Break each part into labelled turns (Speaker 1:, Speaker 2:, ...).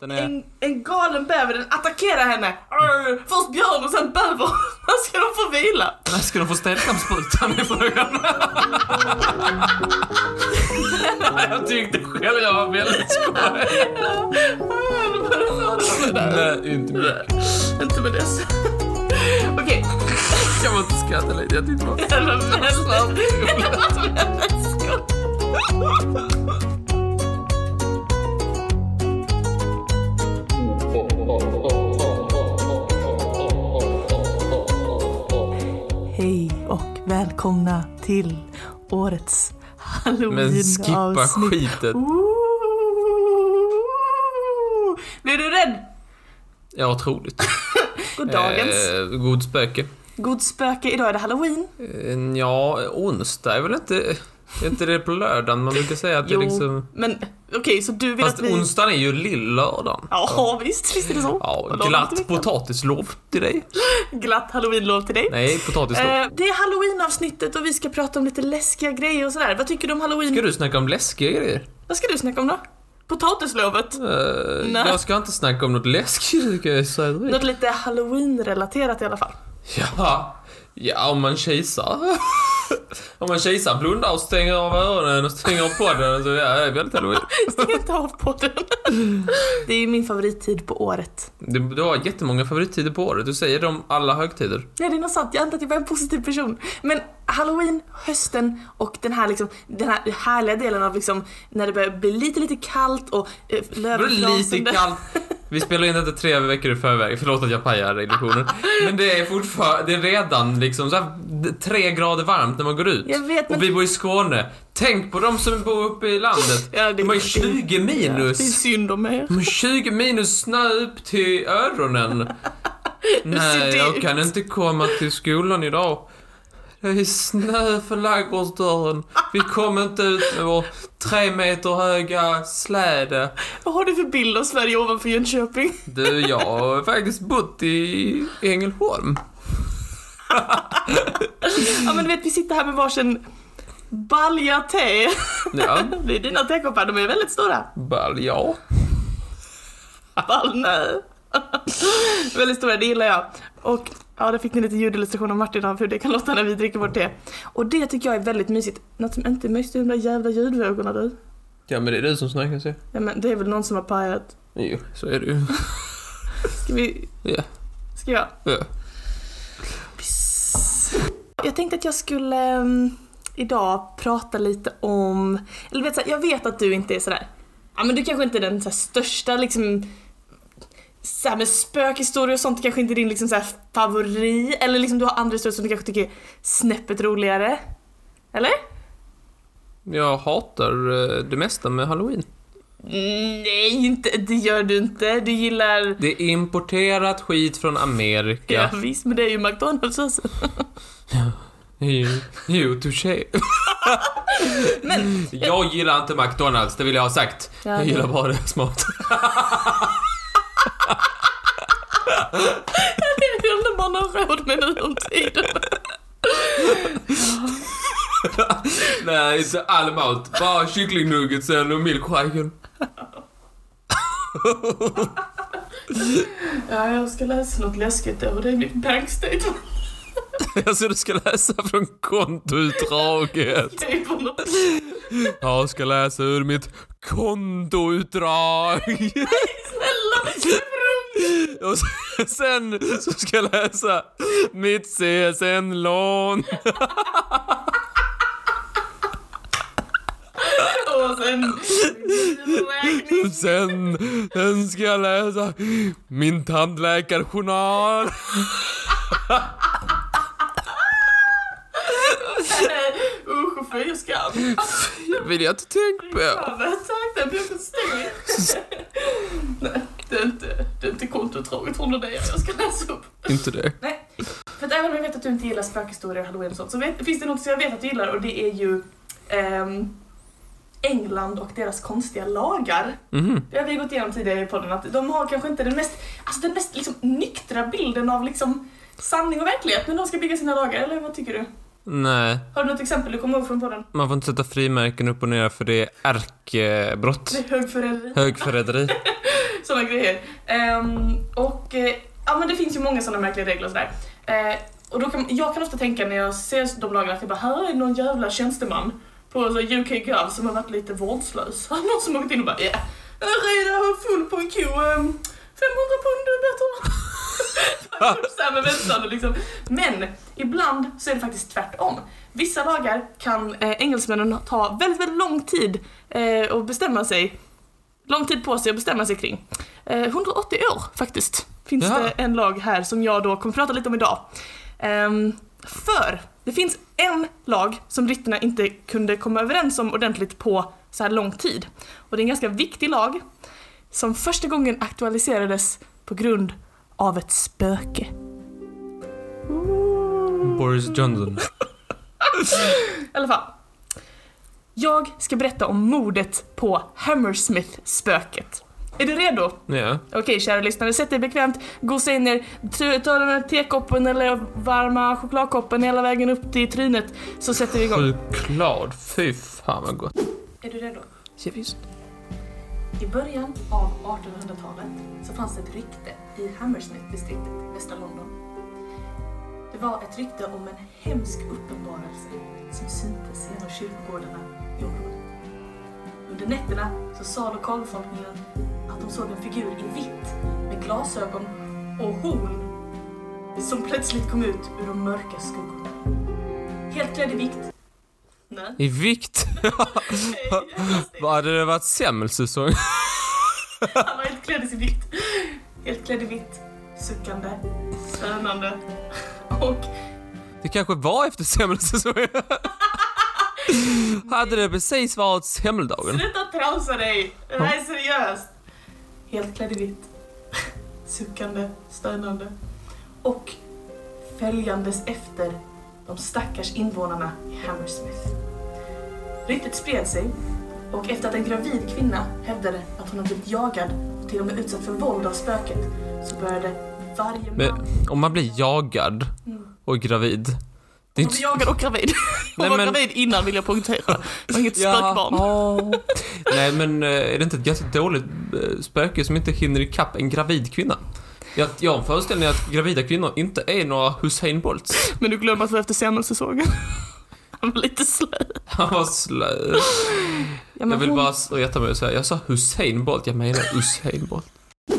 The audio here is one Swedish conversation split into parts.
Speaker 1: Den är...
Speaker 2: En, en galen bäver, den attackerar henne. Arr, först björn och sen bäver. När ska de få vila?
Speaker 1: När ska de få städkampssprutan i frågan? jag tyckte själv jag var väldigt skoj.
Speaker 2: Äh, Det var det skönaste där.
Speaker 1: Nej, inte mycket.
Speaker 2: Inte med dess. Okej.
Speaker 1: Jag måste skratta lite. Jag tyckte det var...
Speaker 2: Det var väldigt- det var väldigt skoj.
Speaker 3: Hej och välkomna till årets
Speaker 1: Men
Speaker 3: halloween-avsnitt.
Speaker 1: skippa skiten.
Speaker 2: Ooh. Blev du rädd?
Speaker 1: Ja, otroligt.
Speaker 2: God dagens.
Speaker 1: Eh, god spöke.
Speaker 2: God spöke, idag är det halloween.
Speaker 1: Eh, ja, onsdag är väl inte... Är inte det på lördagen? Man brukar säga att det är liksom...
Speaker 2: men okej, så du vill
Speaker 1: Fast
Speaker 2: att vi...
Speaker 1: onsdagen är ju lillördagen.
Speaker 2: Ja, visst, visst är det så.
Speaker 1: Ja,
Speaker 2: Och lagom till
Speaker 1: glatt
Speaker 2: veckan.
Speaker 1: potatislov till dig.
Speaker 2: Glatt halloweenlov till dig.
Speaker 1: Nej, potatislov.
Speaker 2: Eh, det är halloweenavsnittet och vi ska prata om lite läskiga grejer och sådär. Vad tycker du om halloween?
Speaker 1: Ska du snacka om läskiga grejer?
Speaker 2: Vad ska du snacka om då? Potatislovet?
Speaker 1: Eh,
Speaker 2: Nej.
Speaker 1: jag ska inte snacka om något läskigt, kan jag säga direkt.
Speaker 2: Något lite halloween-relaterat i alla fall.
Speaker 1: Ja, ja om man kisar. om man kisar, blundar och stänger av öronen och stänger av podden så ja, det är väldigt halloween.
Speaker 2: Stäng inte av podden. Det är ju min favorittid på året.
Speaker 1: Du, du har jättemånga favorittider på året. Du säger dem alla högtider.
Speaker 2: Nej det är nog sant, jag antar att jag var en positiv person. Men halloween, hösten och den här, liksom, den här härliga delen av liksom, när det börjar bli lite lite kallt och eh,
Speaker 1: Vadå lite
Speaker 2: lövfrasande.
Speaker 1: kallt? Vi spelar in detta tre veckor i förväg. Förlåt att jag pajar illusionen. Men det är fortfarande, det är redan liksom så här, d- tre grader varmt när man går ut.
Speaker 2: Jag vet, men-
Speaker 1: Och vi bor i Skåne. Tänk på de som bor uppe i landet.
Speaker 2: Ja, det-
Speaker 1: De har ju 20 minus.
Speaker 2: Det är synd om er.
Speaker 1: Men 20 minus snö upp till öronen.
Speaker 2: ser
Speaker 1: Nej,
Speaker 2: det
Speaker 1: jag
Speaker 2: ut?
Speaker 1: kan inte komma till skolan idag. Det är snö för ladugårdsdörren. Vi kom inte ut med vår tre meter höga släde.
Speaker 2: Vad har du för bild av Sverige ovanför Jönköping?
Speaker 1: Du, jag har faktiskt bott i Ängelholm.
Speaker 2: Ja men du vet vi sitter här med varsin balja te.
Speaker 1: Ja,
Speaker 2: Det är dina tekoppar, de är väldigt stora.
Speaker 1: balja.
Speaker 2: Ball, nej. Väldigt stora, det gillar jag. Och ja, där fick ni lite ljudillustration av Martin av hur det kan låta när vi dricker vårt te. Och det tycker jag är väldigt mysigt. Något som inte är mysigt är de där jävla ljudvågorna du.
Speaker 1: Ja, men det är du som snackar så.
Speaker 2: Ja, men det är väl någon som har pajat.
Speaker 1: Jo, så är det ju.
Speaker 2: Ska vi...
Speaker 1: Ja.
Speaker 2: Ska jag?
Speaker 1: Ja.
Speaker 2: Piss. Jag tänkte att jag skulle ehm, idag prata lite om... Eller vet, så här, jag vet att du inte är sådär... Ja men du kanske inte är den så här, största liksom... Så här, med spökhistorier och sånt kanske inte är din liksom, så här, favorit. Eller liksom du har andra historier som du kanske tycker är snäppet roligare. Eller?
Speaker 1: Jag hatar eh, det mesta med halloween.
Speaker 2: Nej, inte, det gör du inte. Du gillar...
Speaker 1: Det är importerat skit från Amerika.
Speaker 2: Ja, visst, men det är ju McDonalds alltså.
Speaker 1: Jo, jo touché.
Speaker 2: Men-
Speaker 1: jag gillar inte McDonalds, det vill jag ha sagt.
Speaker 2: Ja,
Speaker 1: jag
Speaker 2: det-
Speaker 1: gillar bara deras mat.
Speaker 2: Det är det man har råd med nu om tiden.
Speaker 1: Nej, inte all mat. Bara kycklingnuggeten och milkshaken.
Speaker 2: Ja, jag ska läsa något läskigt då och det är mitt bankstatement.
Speaker 1: Alltså du ska läsa från kontoutdraget.
Speaker 2: Det är på något-
Speaker 1: Jag ska läsa ur mitt kontoutdrag.
Speaker 2: Snälla, släpp
Speaker 1: Och sen så ska jag läsa mitt CSN-lån.
Speaker 2: rum! Och sen... Räkning.
Speaker 1: Sen, sen ska jag läsa min tandläkarjournal.
Speaker 2: Usch, fy skam.
Speaker 1: vill jag inte tänka på.
Speaker 2: Ja, men Tack, den boken stänger. Nej, det är inte, det är inte kontoutdraget från dig jag ska läsa upp.
Speaker 1: Inte det.
Speaker 2: Nej, för att även om jag vet att du inte gillar spökhistorier och halloween och sånt så vet, finns det något som jag vet att du gillar och det är ju ehm, England och deras konstiga lagar.
Speaker 1: Mhm.
Speaker 2: Det har vi gått igenom tidigare i podden att de har kanske inte den mest, alltså den mest liksom nyktra bilden av liksom sanning och verklighet när de ska bygga sina lagar, eller vad tycker du?
Speaker 1: Nej,
Speaker 2: Har du något exempel du kommer ihåg från podden?
Speaker 1: man får inte sätta frimärken upp och ner för det är ärkebrott.
Speaker 2: Det är högförräderi.
Speaker 1: Högförräderi.
Speaker 2: sådana grejer. Ehm, och eh, ja, men det finns ju många sådana märkliga regler och sådär. Eh, och då kan, jag kan ofta tänka när jag ser de lagarna att jag bara, här är någon jävla tjänsteman på alltså, så här UK Girl som har varit lite vårdslös. Här är någon som har gått in och bara, ja, yeah, rida full på en ko, ehm, 500 pund är bättre. Så här med väntan och liksom. Men ibland så är det faktiskt tvärtom. Vissa lagar kan eh, engelsmännen ta väldigt, väldigt lång tid eh, att bestämma sig. Lång tid på sig att bestämma sig kring. Eh, 180 år faktiskt finns
Speaker 1: Jaha.
Speaker 2: det en lag här som jag då kommer prata lite om idag. Ehm, för det finns en lag som britterna inte kunde komma överens om ordentligt på så här lång tid. Och det är en ganska viktig lag som första gången aktualiserades på grund av ett spöke.
Speaker 1: Boris Johnson.
Speaker 2: I alla fall. Jag ska berätta om mordet på Hammersmith-spöket. Är du redo?
Speaker 1: Ja.
Speaker 2: Okej, kära lyssnare, sätt dig bekvämt, gosa in er, t- ta den här tekoppen eller varma chokladkoppen hela vägen upp till trynet, så sätter vi igång.
Speaker 1: Choklad. Fy fan vad gott.
Speaker 2: Är du redo?
Speaker 3: Visst.
Speaker 2: I början av 1800-talet så fanns det ett rykte i Hammersmith-distriktet, västra London. Det var ett rykte om en hemsk uppenbarelse som syntes genom kyrkogårdarna i området. Under nätterna så sa lokalbefolkningen att de såg en figur i vitt med glasögon och horn som plötsligt kom ut ur de mörka skuggorna. Helt klädd i vikt. Nej.
Speaker 1: I vikt. Vad Hade det varit semmelsäsong?
Speaker 2: Han var helt klädd i sin vitt. Helt klädd i vitt, suckande, stönande och
Speaker 1: Det kanske var efter semmelsäsongen. Hade det precis varit semmeldagen?
Speaker 2: sluta tramsa dig! Det här är seriöst! Helt klädd i vitt, suckande, stönande och följandes efter de stackars invånarna i Hammersmith. Ryktet spred sig och efter att en gravid kvinna hävdade att hon hade blivit jagad och till och med utsatt för våld av spöket så började varje man...
Speaker 1: Men om man blir jagad och gravid. Det är
Speaker 2: Hon blev jagad och gravid. Hon
Speaker 1: Nej,
Speaker 2: var
Speaker 1: men-
Speaker 2: gravid innan vill jag poängtera. Det var inget spökbarn.
Speaker 1: Jaha. Nej men eh, är det inte ett ganska dåligt eh, spöke som inte hinner ikapp en gravid kvinna? Jag, jag har en föreställning att gravida kvinnor inte är några Hussein Bolts.
Speaker 2: Men du glömde att det var efter semmelsäsongen. Han var lite slö.
Speaker 1: Han var slö.
Speaker 2: Ja,
Speaker 1: Jag vill
Speaker 2: hon-
Speaker 1: bara s- rätta mig och säga, jag sa Hussein Bolt, jag menar Usain Bolt.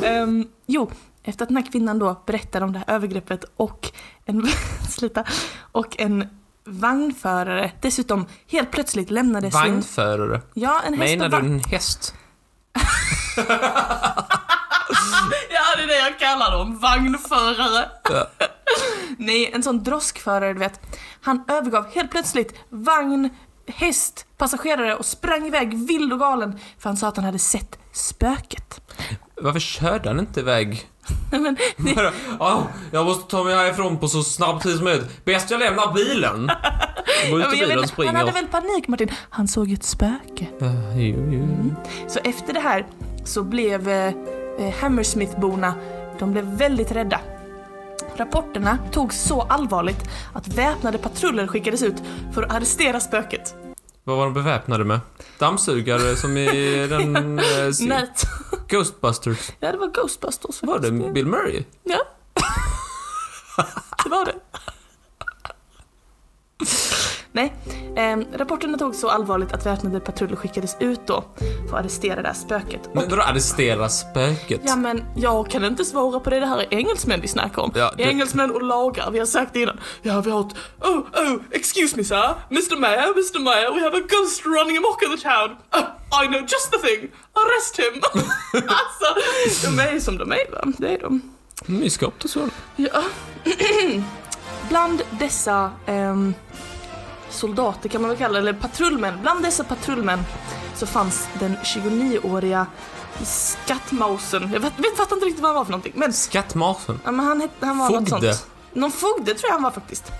Speaker 2: Ehm, jo, efter att den här kvinnan då berättar om det här övergreppet och en, sluta, och en vagnförare dessutom helt plötsligt lämnade sin...
Speaker 1: Vagnförare.
Speaker 2: Ja, en häst
Speaker 1: Menar
Speaker 2: och
Speaker 1: du
Speaker 2: vagn.
Speaker 1: en häst?
Speaker 2: Ja, det är det jag kallar dem. Vagnförare.
Speaker 1: Ja.
Speaker 2: Nej, en sån droskförare, du vet. Han övergav helt plötsligt vagn, häst, passagerare och sprang iväg vild och galen för han sa att han hade sett spöket.
Speaker 1: Varför körde han inte iväg?
Speaker 2: Nej, men det,
Speaker 1: Bara, "Åh, jag måste ta mig härifrån på så snabb tid som möjligt. Bäst jag lämnar bilen. Går ut
Speaker 2: ja,
Speaker 1: ur bilen och
Speaker 2: men jag vet, han hade
Speaker 1: springer.
Speaker 2: väl panik Martin? Han såg ju ett spöke.
Speaker 1: Eh, jo, jo.
Speaker 2: Så efter det här så blev eh, eh, Hammersmith-borna, de blev väldigt rädda. Rapporterna togs så allvarligt att väpnade patruller skickades ut för att arrestera spöket.
Speaker 1: Vad var de beväpnade med? Dammsugare som i den... eh, s-
Speaker 2: Nät.
Speaker 1: Ghostbusters.
Speaker 2: Ja, det var Ghostbusters.
Speaker 1: Var det
Speaker 2: faktiskt.
Speaker 1: Bill Murray?
Speaker 2: Ja. det var det. Nej, ehm, rapporterna togs så allvarligt att väpnade patruller skickades ut då för att arrestera det här spöket.
Speaker 1: Men vadå arrestera spöket?
Speaker 2: Ja men jag kan inte svara på det, det här är engelsmän vi snackar om.
Speaker 1: Ja, det-
Speaker 2: Engelsmän och lagar, vi har sagt det innan. Ja vi har ett, oh, oh, excuse me sir, Mr Mayor, Mr Mayor, we have a ghost running amok in the town. Oh, I know just the thing, arrest him. alltså, de är som de är va, det är de.
Speaker 1: Myskap och så.
Speaker 2: Ja. bland dessa ehm, soldater kan man väl kalla det, eller patrullmän, bland dessa patrullmän så fanns den 29-åriga Skattmausen. Jag vet, vet, fattar inte riktigt vad han var för någonting. Men,
Speaker 1: Skattmasen.
Speaker 2: ja, men han, hette, han var något
Speaker 1: Fogde.
Speaker 2: sånt. Någon fogde tror jag han var faktiskt.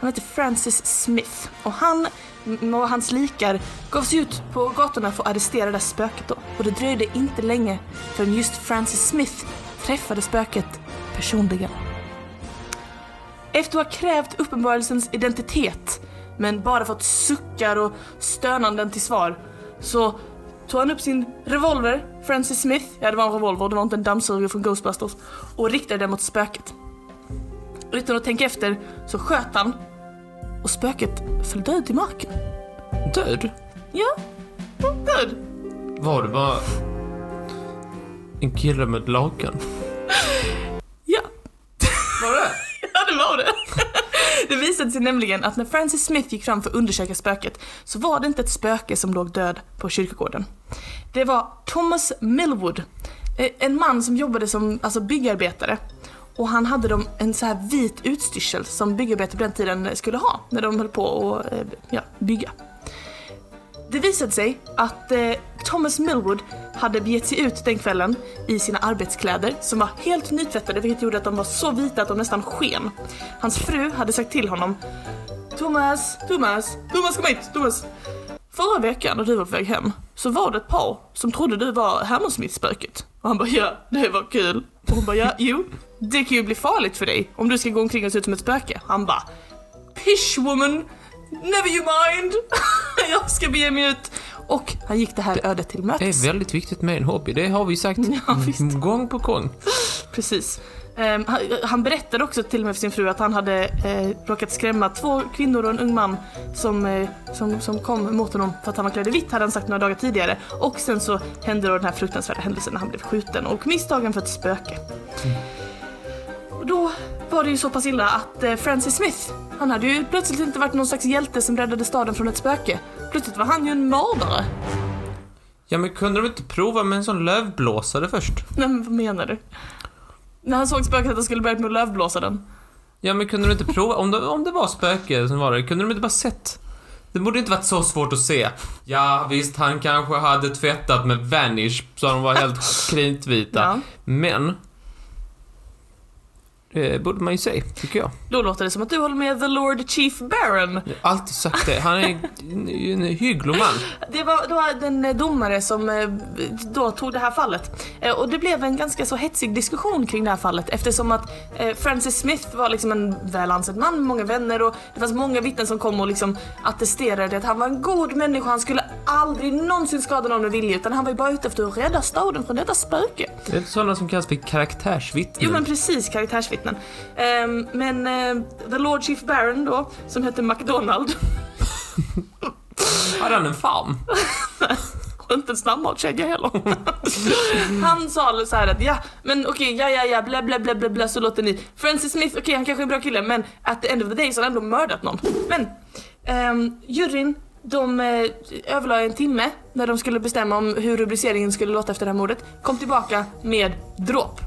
Speaker 2: Han hette Francis Smith och han m- och hans likar gav sig ut på gatorna för att arrestera det där spöket då. Och det dröjde inte länge förrän just Francis Smith träffade spöket personligen. Efter att ha krävt uppenbarelsens identitet men bara fått suckar och stönanden till svar så tog han upp sin revolver Francis Smith, ja det var en revolver, det var inte en dammsugare från Ghostbusters, och riktade den mot spöket. Utan att tänka efter så sköt han och spöket föll död i marken.
Speaker 1: Död?
Speaker 2: Ja, död.
Speaker 1: Var det bara en kille med ett lakan?
Speaker 2: Ja,
Speaker 1: Var det?
Speaker 2: ja det var det. Det visade sig nämligen att när Francis Smith gick fram för att undersöka spöket så var det inte ett spöke som låg död på kyrkogården. Det var Thomas Millwood, eh, en man som jobbade som alltså, byggarbetare. Och han hade dem en så här vit utstyrsel som byggarbetare på den tiden skulle ha när de höll på att eh, ja, bygga. Det visade sig att eh, Thomas Millwood hade begett sig ut den kvällen i sina arbetskläder som var helt nytvättade vilket gjorde att de var så vita att de nästan sken. Hans fru hade sagt till honom Thomas, Thomas, Thomas kom hit, Thomas. Förra veckan när du var på väg hem så var det ett par som trodde du var Hammersmith-spöket. Och han bara ja, det var kul. Och hon bara ja, jo, det kan ju bli farligt för dig om du ska gå omkring och se ut som ett spöke. Han bara Pish woman, never you mind. jag ska bege mig ut. Och han gick det här ödet till
Speaker 1: Det
Speaker 2: mötes.
Speaker 1: är väldigt viktigt med en hobby, det har vi sagt
Speaker 2: Ja, visst.
Speaker 1: gång på gång.
Speaker 2: Precis. Ehm, han, han berättade också till och med för sin fru att han hade eh, råkat skrämma två kvinnor och en ung man som, eh, som, som kom mot honom för att han var klädd i vitt hade han sagt några dagar tidigare. Och sen så hände då den här fruktansvärda händelsen när han blev skjuten och misstagen för ett spöke. Och då var det ju så pass illa att eh, Francis Smith, han hade ju plötsligt inte varit någon slags hjälte som räddade staden från ett spöke. Plötsligt var han ju en mördare.
Speaker 1: Ja, men kunde de inte prova med en sån lövblåsare först?
Speaker 2: Nej men vad menar du? När han såg spöket att han skulle börjat med att lövblåsa den.
Speaker 1: Ja, men kunde de inte prova? Om det, om det var spöke som var det, kunde de inte bara sett? Det borde inte varit så svårt att se. Ja, visst, han kanske hade tvättat med Vanish så de var helt kritvita.
Speaker 2: Ja.
Speaker 1: Men... Det borde man ju säga, tycker jag.
Speaker 2: Då låter det som att du håller med The Lord Chief Baron.
Speaker 1: Jag har alltid sagt det. Han är en, en hygloman.
Speaker 2: Det var, det var den eh, domare som eh, då tog det här fallet. Eh, Och det blev en ganska så hetsig diskussion kring det här fallet eftersom att eh, Francis Smith var liksom en väl ansedd man med många vänner och det fanns många vittnen som kom och liksom attesterade att han var en god människa. Han skulle aldrig någonsin skada någon med vilja utan han var ju bara ute efter att rädda staden från detta spöke.
Speaker 1: Det är sådana som kallas för karaktärsvittnen.
Speaker 2: Jo men precis, karaktärsvittnen. Ehm, men eh, The Lord Chief Baron då, som hette McDonald
Speaker 1: Hade han en farm?
Speaker 2: Och inte en snabbmatskedja heller. han sa så här att ja, men okej, ja, ja, ja, bla, bla, bla, bla, bla, så låter ni. Francis Smith, okej, han kanske är en bra kille, men at the end of the day så har han ändå mördat någon. Men ehm, juryn, de eh, överlade en timme när de skulle bestämma om hur rubriceringen skulle låta efter det här mordet. Kom tillbaka med dråp.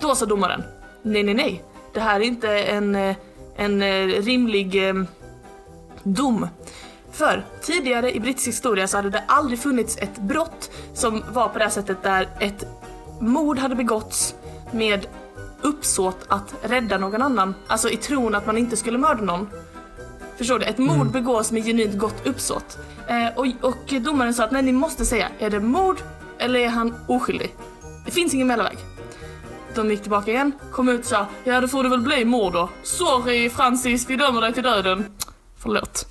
Speaker 2: Då sa domaren, nej, nej, nej. Det här är inte en, eh, en eh, rimlig eh, dom. För tidigare i brittisk historia så hade det aldrig funnits ett brott som var på det här sättet där ett mord hade begåtts med uppsåt att rädda någon annan. Alltså i tron att man inte skulle mörda någon. Förstår du? Ett mord begås med genuint gott uppsåt. Eh, och, och domaren sa att nej, ni måste säga, är det mord eller är han oskyldig? Det finns ingen mellanväg. De gick tillbaka igen, kom ut och sa ja, då får det väl bli mord då. Sorry Francis, vi dömer dig till döden. Förlåt.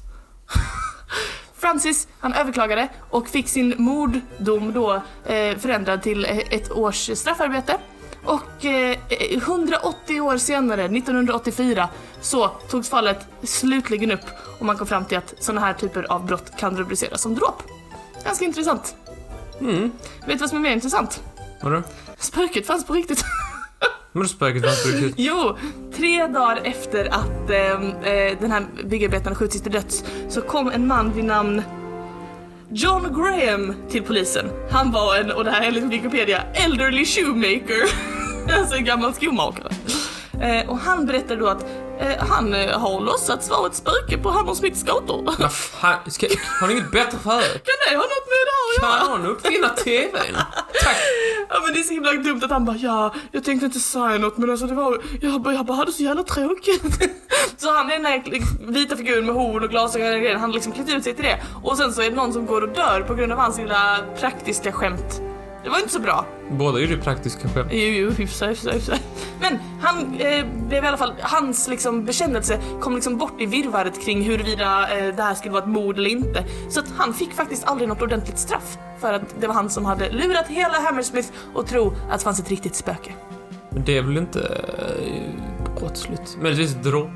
Speaker 2: Francis, han överklagade och fick sin morddom då eh, förändrad till eh, ett års straffarbete. Och eh, eh, 180 år senare, 1984, så togs fallet slutligen upp och man kom fram till att sådana här typer av brott kan rubriceras som dråp. Ganska intressant.
Speaker 1: Mm.
Speaker 2: Vet du vad som är mer intressant?
Speaker 1: Vadå?
Speaker 2: Spöket fanns på riktigt.
Speaker 1: Men spöket var inte riktigt...
Speaker 2: Jo, tre dagar efter att ehm, eh, den här byggarbetaren skjutits till döds så kom en man vid namn John Graham till polisen. Han var en, och det här är enligt Wikipedia, elderly shoemaker. alltså en gammal skomakare. Eh, och han berättade då att eh, han eh, har låtsats vara ett spöke på Hammersmiths gator. Kan
Speaker 1: Vad fan, ska, har ni inget bättre för er?
Speaker 2: det ha något med det här att göra?
Speaker 1: Kan någon uppfinna TVn? Tack!
Speaker 2: Ja men det är så himla dumt att han bara ja, jag tänkte inte säga något men alltså det var, jag bara, jag bara hade så jävla tråkigt. så han är den här liksom vita figuren med horn och glasögon och grejer, han har liksom klätt ut sig till det. Och sen så är det någon som går och dör på grund av hans lilla praktiska skämt. Det var inte så bra.
Speaker 1: Båda gjorde ju typ praktiska skämt.
Speaker 2: Jo, jo, hyfsa, hyfsa, hyfsa. Men han eh, blev i alla fall, hans liksom bekännelse kom liksom bort i virrvarret kring huruvida eh, det här skulle vara ett mord eller inte. Så att han fick faktiskt aldrig något ordentligt straff för att det var han som hade lurat hela Hammersmith och tro att det fanns ett riktigt spöke.
Speaker 1: Men det är väl inte eh, brottsligt? Möjligtvis dråp.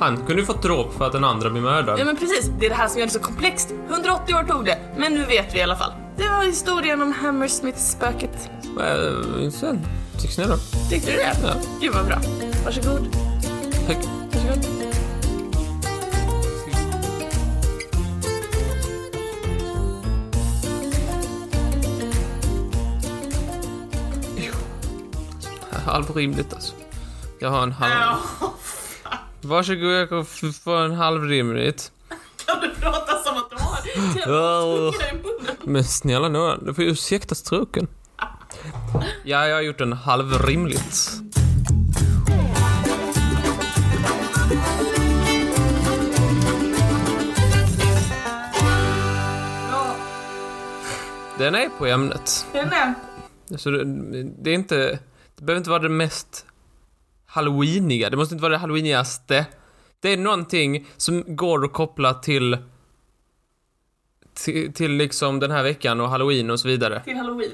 Speaker 1: Han kunde ju fått dråp för att den andra blev mördad.
Speaker 2: Ja men precis, det är det här som gör det så komplext. 180 år tog det, men nu vet vi i alla fall. Det var historien om Hammersmith-spöket.
Speaker 1: Eh, Sen, tycks ni då?
Speaker 2: Tyckte du det?
Speaker 1: Ja.
Speaker 2: Gud vad bra. Varsågod.
Speaker 1: Tack.
Speaker 2: Varsågod.
Speaker 1: Halv rimligt alltså. Jag har en halv. Varsågod jag kan f- få en halv rimligt.
Speaker 2: Kan du prata som att du har
Speaker 1: Åh.
Speaker 2: tungan i munnen?
Speaker 1: Men snälla nån, du får ursäkta struken. Ja, jag har gjort en halv rimligt.
Speaker 2: Ja,
Speaker 1: Den är på ämnet.
Speaker 2: den är...
Speaker 1: Så det, det är inte... Det behöver inte vara det mest halloweeniga. Det måste inte vara det halloweenigaste. Det är någonting som går att koppla till... Till, till liksom den här veckan och halloween och så vidare.
Speaker 2: Till halloween.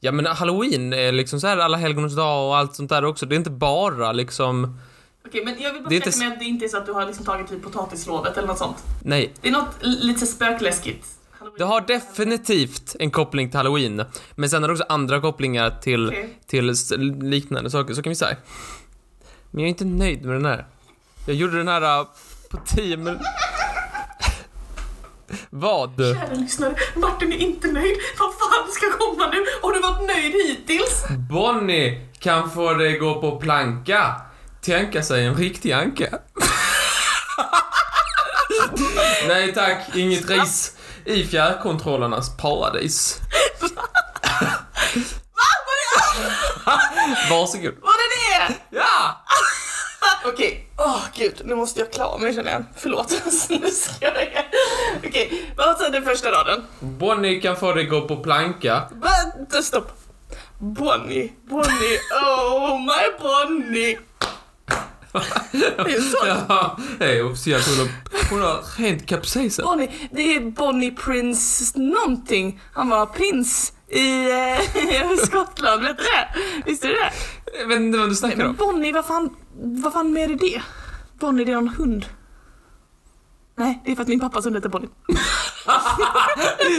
Speaker 1: Ja men halloween är liksom så här alla helgons dag och allt sånt där också. Det är inte bara liksom...
Speaker 2: Okej, men jag vill bara
Speaker 1: Det är
Speaker 2: säga
Speaker 1: inte-
Speaker 2: med att det inte är så att du har liksom tagit typ potatislovet eller något sånt.
Speaker 1: Nej,
Speaker 2: Det är något l- lite spökläskigt. Halloween.
Speaker 1: Det har definitivt en koppling till halloween. Men sen har det också andra kopplingar till,
Speaker 2: Okej.
Speaker 1: till s- liknande saker, så kan vi säga. Men jag är inte nöjd med den här. Jag gjorde den här äh, på 10 minuter. Vad?
Speaker 2: Kära lyssnare, Martin är inte nöjd. Vad fan ska komma nu? Har du varit nöjd hittills?
Speaker 1: Bonnie kan få det gå på planka. Tänka sig en riktig anka. Nej tack, inget ris. I fjärrkontrollernas paradis. Varsågod.
Speaker 2: Var det Ah! det?
Speaker 1: Ja!
Speaker 2: Okej, åh gud, nu måste jag klara mig känner jag. Förlåt, nu ska jag göra. Okej, vad sa den första raden?
Speaker 1: Bonnie kan få det gå på planka.
Speaker 2: Vänta, stopp. Bonnie, Bonnie, oh my Bonnie. Det är så.
Speaker 1: Ja, hej officiellt. Hon har, hon har rent kapsejsat.
Speaker 2: Bonnie, det är Bonnie Prince någonting. Han var prins i eh, Skottland, vet du det? Visste du det?
Speaker 1: Jag vet inte vad du snackar
Speaker 2: Men
Speaker 1: om.
Speaker 2: Bonnie, vad fan, vad fan mer är det? Bonnie, det är någon hund. Nej, det är för att min pappas hund heter Bonnie.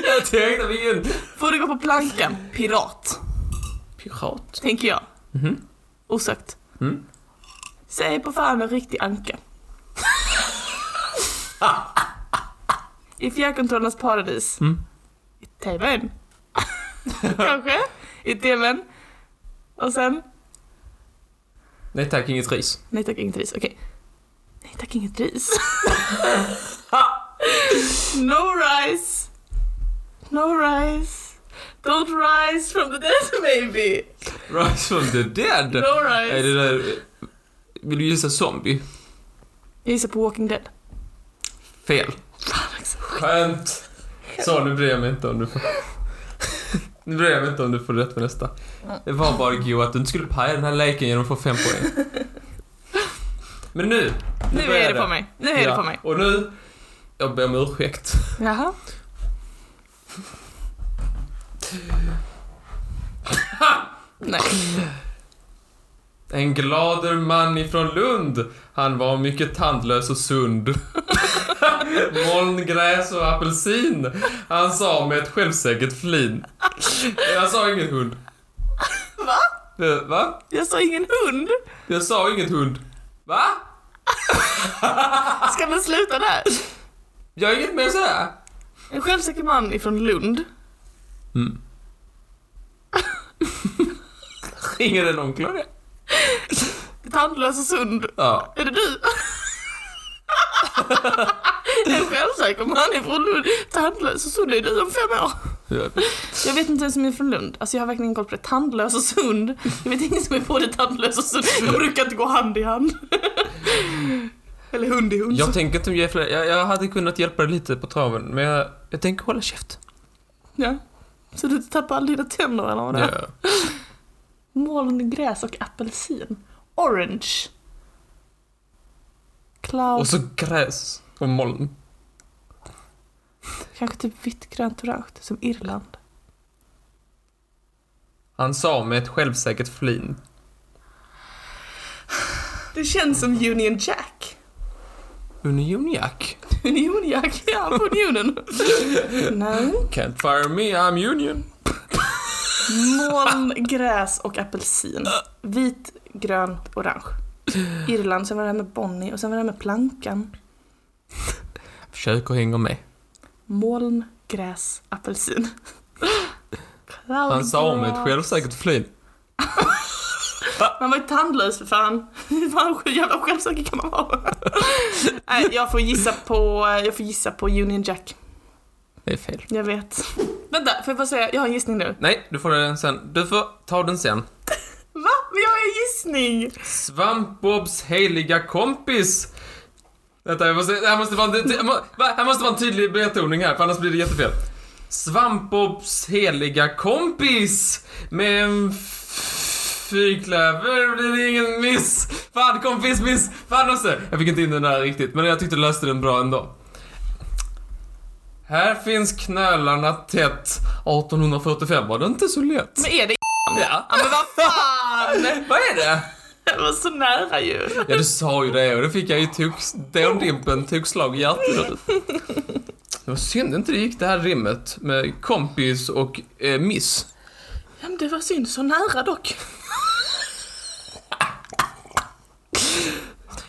Speaker 1: Jag tänkte vi är en
Speaker 2: Får du gå på plankan? Pirat,
Speaker 1: pirat.
Speaker 2: tänker jag.
Speaker 1: Mhm.
Speaker 2: Osökt.
Speaker 1: Mm.
Speaker 2: Säg på fan en riktig anka. I fjärrkontrollernas paradis.
Speaker 1: Mm.
Speaker 2: I TVn. Kanske. I TVn. Och sen...
Speaker 1: Nej tack, inget ris.
Speaker 2: Nej tack, inget ris. Okej. Nej tack, inget ris. no rice. No rice. Don't rise from the dead baby.
Speaker 1: Rise from the dead.
Speaker 2: No rice.
Speaker 1: Är det där... Vill du gissa zombie?
Speaker 2: Jag gissar på Walking Dead.
Speaker 1: Fel. Skämt! Så, nu bryr jag mig inte om du får... nu bryr jag mig inte om du får rätt för nästa. Det var bara Gio att du inte skulle paja den här leken genom att få fem poäng. Men nu!
Speaker 2: Nu
Speaker 1: börjar
Speaker 2: är det på mig. Nu är det på mig.
Speaker 1: Och nu... Jag ber om ursäkt.
Speaker 2: Jaha. Nej.
Speaker 1: En glader man ifrån Lund. Han var mycket tandlös och sund. Molngräs och apelsin. Han sa med ett självsäkert flin. Jag sa ingen hund. Va? Va?
Speaker 2: Jag sa ingen hund.
Speaker 1: Jag sa inget hund. Va?
Speaker 2: Ska den sluta där?
Speaker 1: Jag är inget mer sådär.
Speaker 2: En självsäker man ifrån Lund.
Speaker 1: Mm. Ringer en onkel?
Speaker 2: Tandlös och sund.
Speaker 1: Ja.
Speaker 2: Är det du? en självsäker man ifrån Lund. Tandlös och sund. Är du om fem år? Jag vet inte ens som är från Lund. Alltså jag har verkligen koll på det. Tandlös och sund. Jag vet ingen som är både tandlös och sund. De brukar inte gå hand i hand. Eller hund i hund.
Speaker 1: Jag tänker inte ge fler. Jag, jag hade kunnat hjälpa dig lite på traven, men jag, jag tänker hålla käft.
Speaker 2: Ja. Så du tappar alla dina tänder eller vad det är?
Speaker 1: Ja.
Speaker 2: Molngräs och apelsin. Orange. Cloud.
Speaker 1: Och så gräs och moln.
Speaker 2: Kanske typ vitt, grönt, orange. Som Irland.
Speaker 1: Han sa med ett självsäkert flin.
Speaker 2: Det känns som Union Jack.
Speaker 1: Union Jack?
Speaker 2: Union Jack, ja på unionen. Nej.
Speaker 1: Can't fire me, I'm union.
Speaker 2: Moln, gräs och apelsin. Vit, grön, orange. Irland, sen var det här med Bonnie och sen var det här med plankan.
Speaker 1: Försök och hänga med.
Speaker 2: Moln, gräs, apelsin. Cloud
Speaker 1: Han sa med ett
Speaker 2: grass.
Speaker 1: självsäkert flin.
Speaker 2: Man var ju tandlös för fan. Hur fan jävla självsäker kan man vara? Nej, jag får gissa på, jag får gissa på Union Jack.
Speaker 1: Det är fel.
Speaker 2: Jag vet. Vänta, får jag bara säga, jag har en gissning nu.
Speaker 1: Nej, du får den sen. Du får ta den sen.
Speaker 2: Va? Men jag har en gissning!
Speaker 1: Svampbobs heliga kompis. Vänta, jag måste, det här måste vara en, det- det- må- va? här måste vara en tydlig betoning här, för annars blir det jättefel. Svampbobs heliga kompis med en f- fyrklöver blir det ingen miss. Fan kompis miss. Fan också. Jag fick inte in den där riktigt, men jag tyckte du löste den bra ändå. Här finns knölarna tätt. 1845 var det inte så lätt.
Speaker 2: Men är det
Speaker 1: Ja.
Speaker 2: Ja men vad fan!
Speaker 1: Vad är det?
Speaker 2: Jag var så nära ju.
Speaker 1: Ja du sa ju det och då fick jag ju toks, dåndimpen tokslag i hjärtat. Det var synd inte det gick det här rimmet med kompis och eh, miss.
Speaker 2: Ja, men det var synd, så nära dock.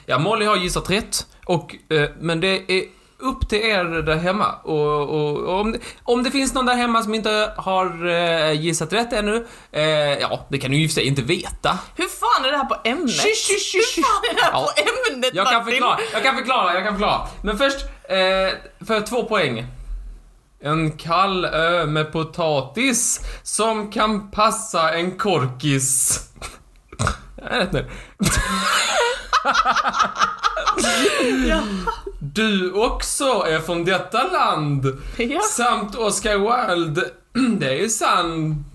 Speaker 1: Ja, Molly har gissat rätt. Och, eh, men det är upp till er där hemma. Och, och, och om, det, om det finns någon där hemma som inte har eh, gissat rätt ännu, eh, ja, det kan du ju i och för sig inte veta.
Speaker 2: Hur fan är det här på ämnet?
Speaker 1: Shh, shh, shh,
Speaker 2: Hur fan är det här
Speaker 1: Ja.
Speaker 2: på ämnet
Speaker 1: Jag kan
Speaker 2: Martin?
Speaker 1: förklara, jag kan förklara, jag kan förklara. Men först, eh, för två poäng. En kall ö med potatis som kan passa en korkis. Jag är rätt nöjd.
Speaker 2: Ja.
Speaker 1: Du också är från detta land.
Speaker 2: Ja.
Speaker 1: Samt Oscar Wilde. Det är sant.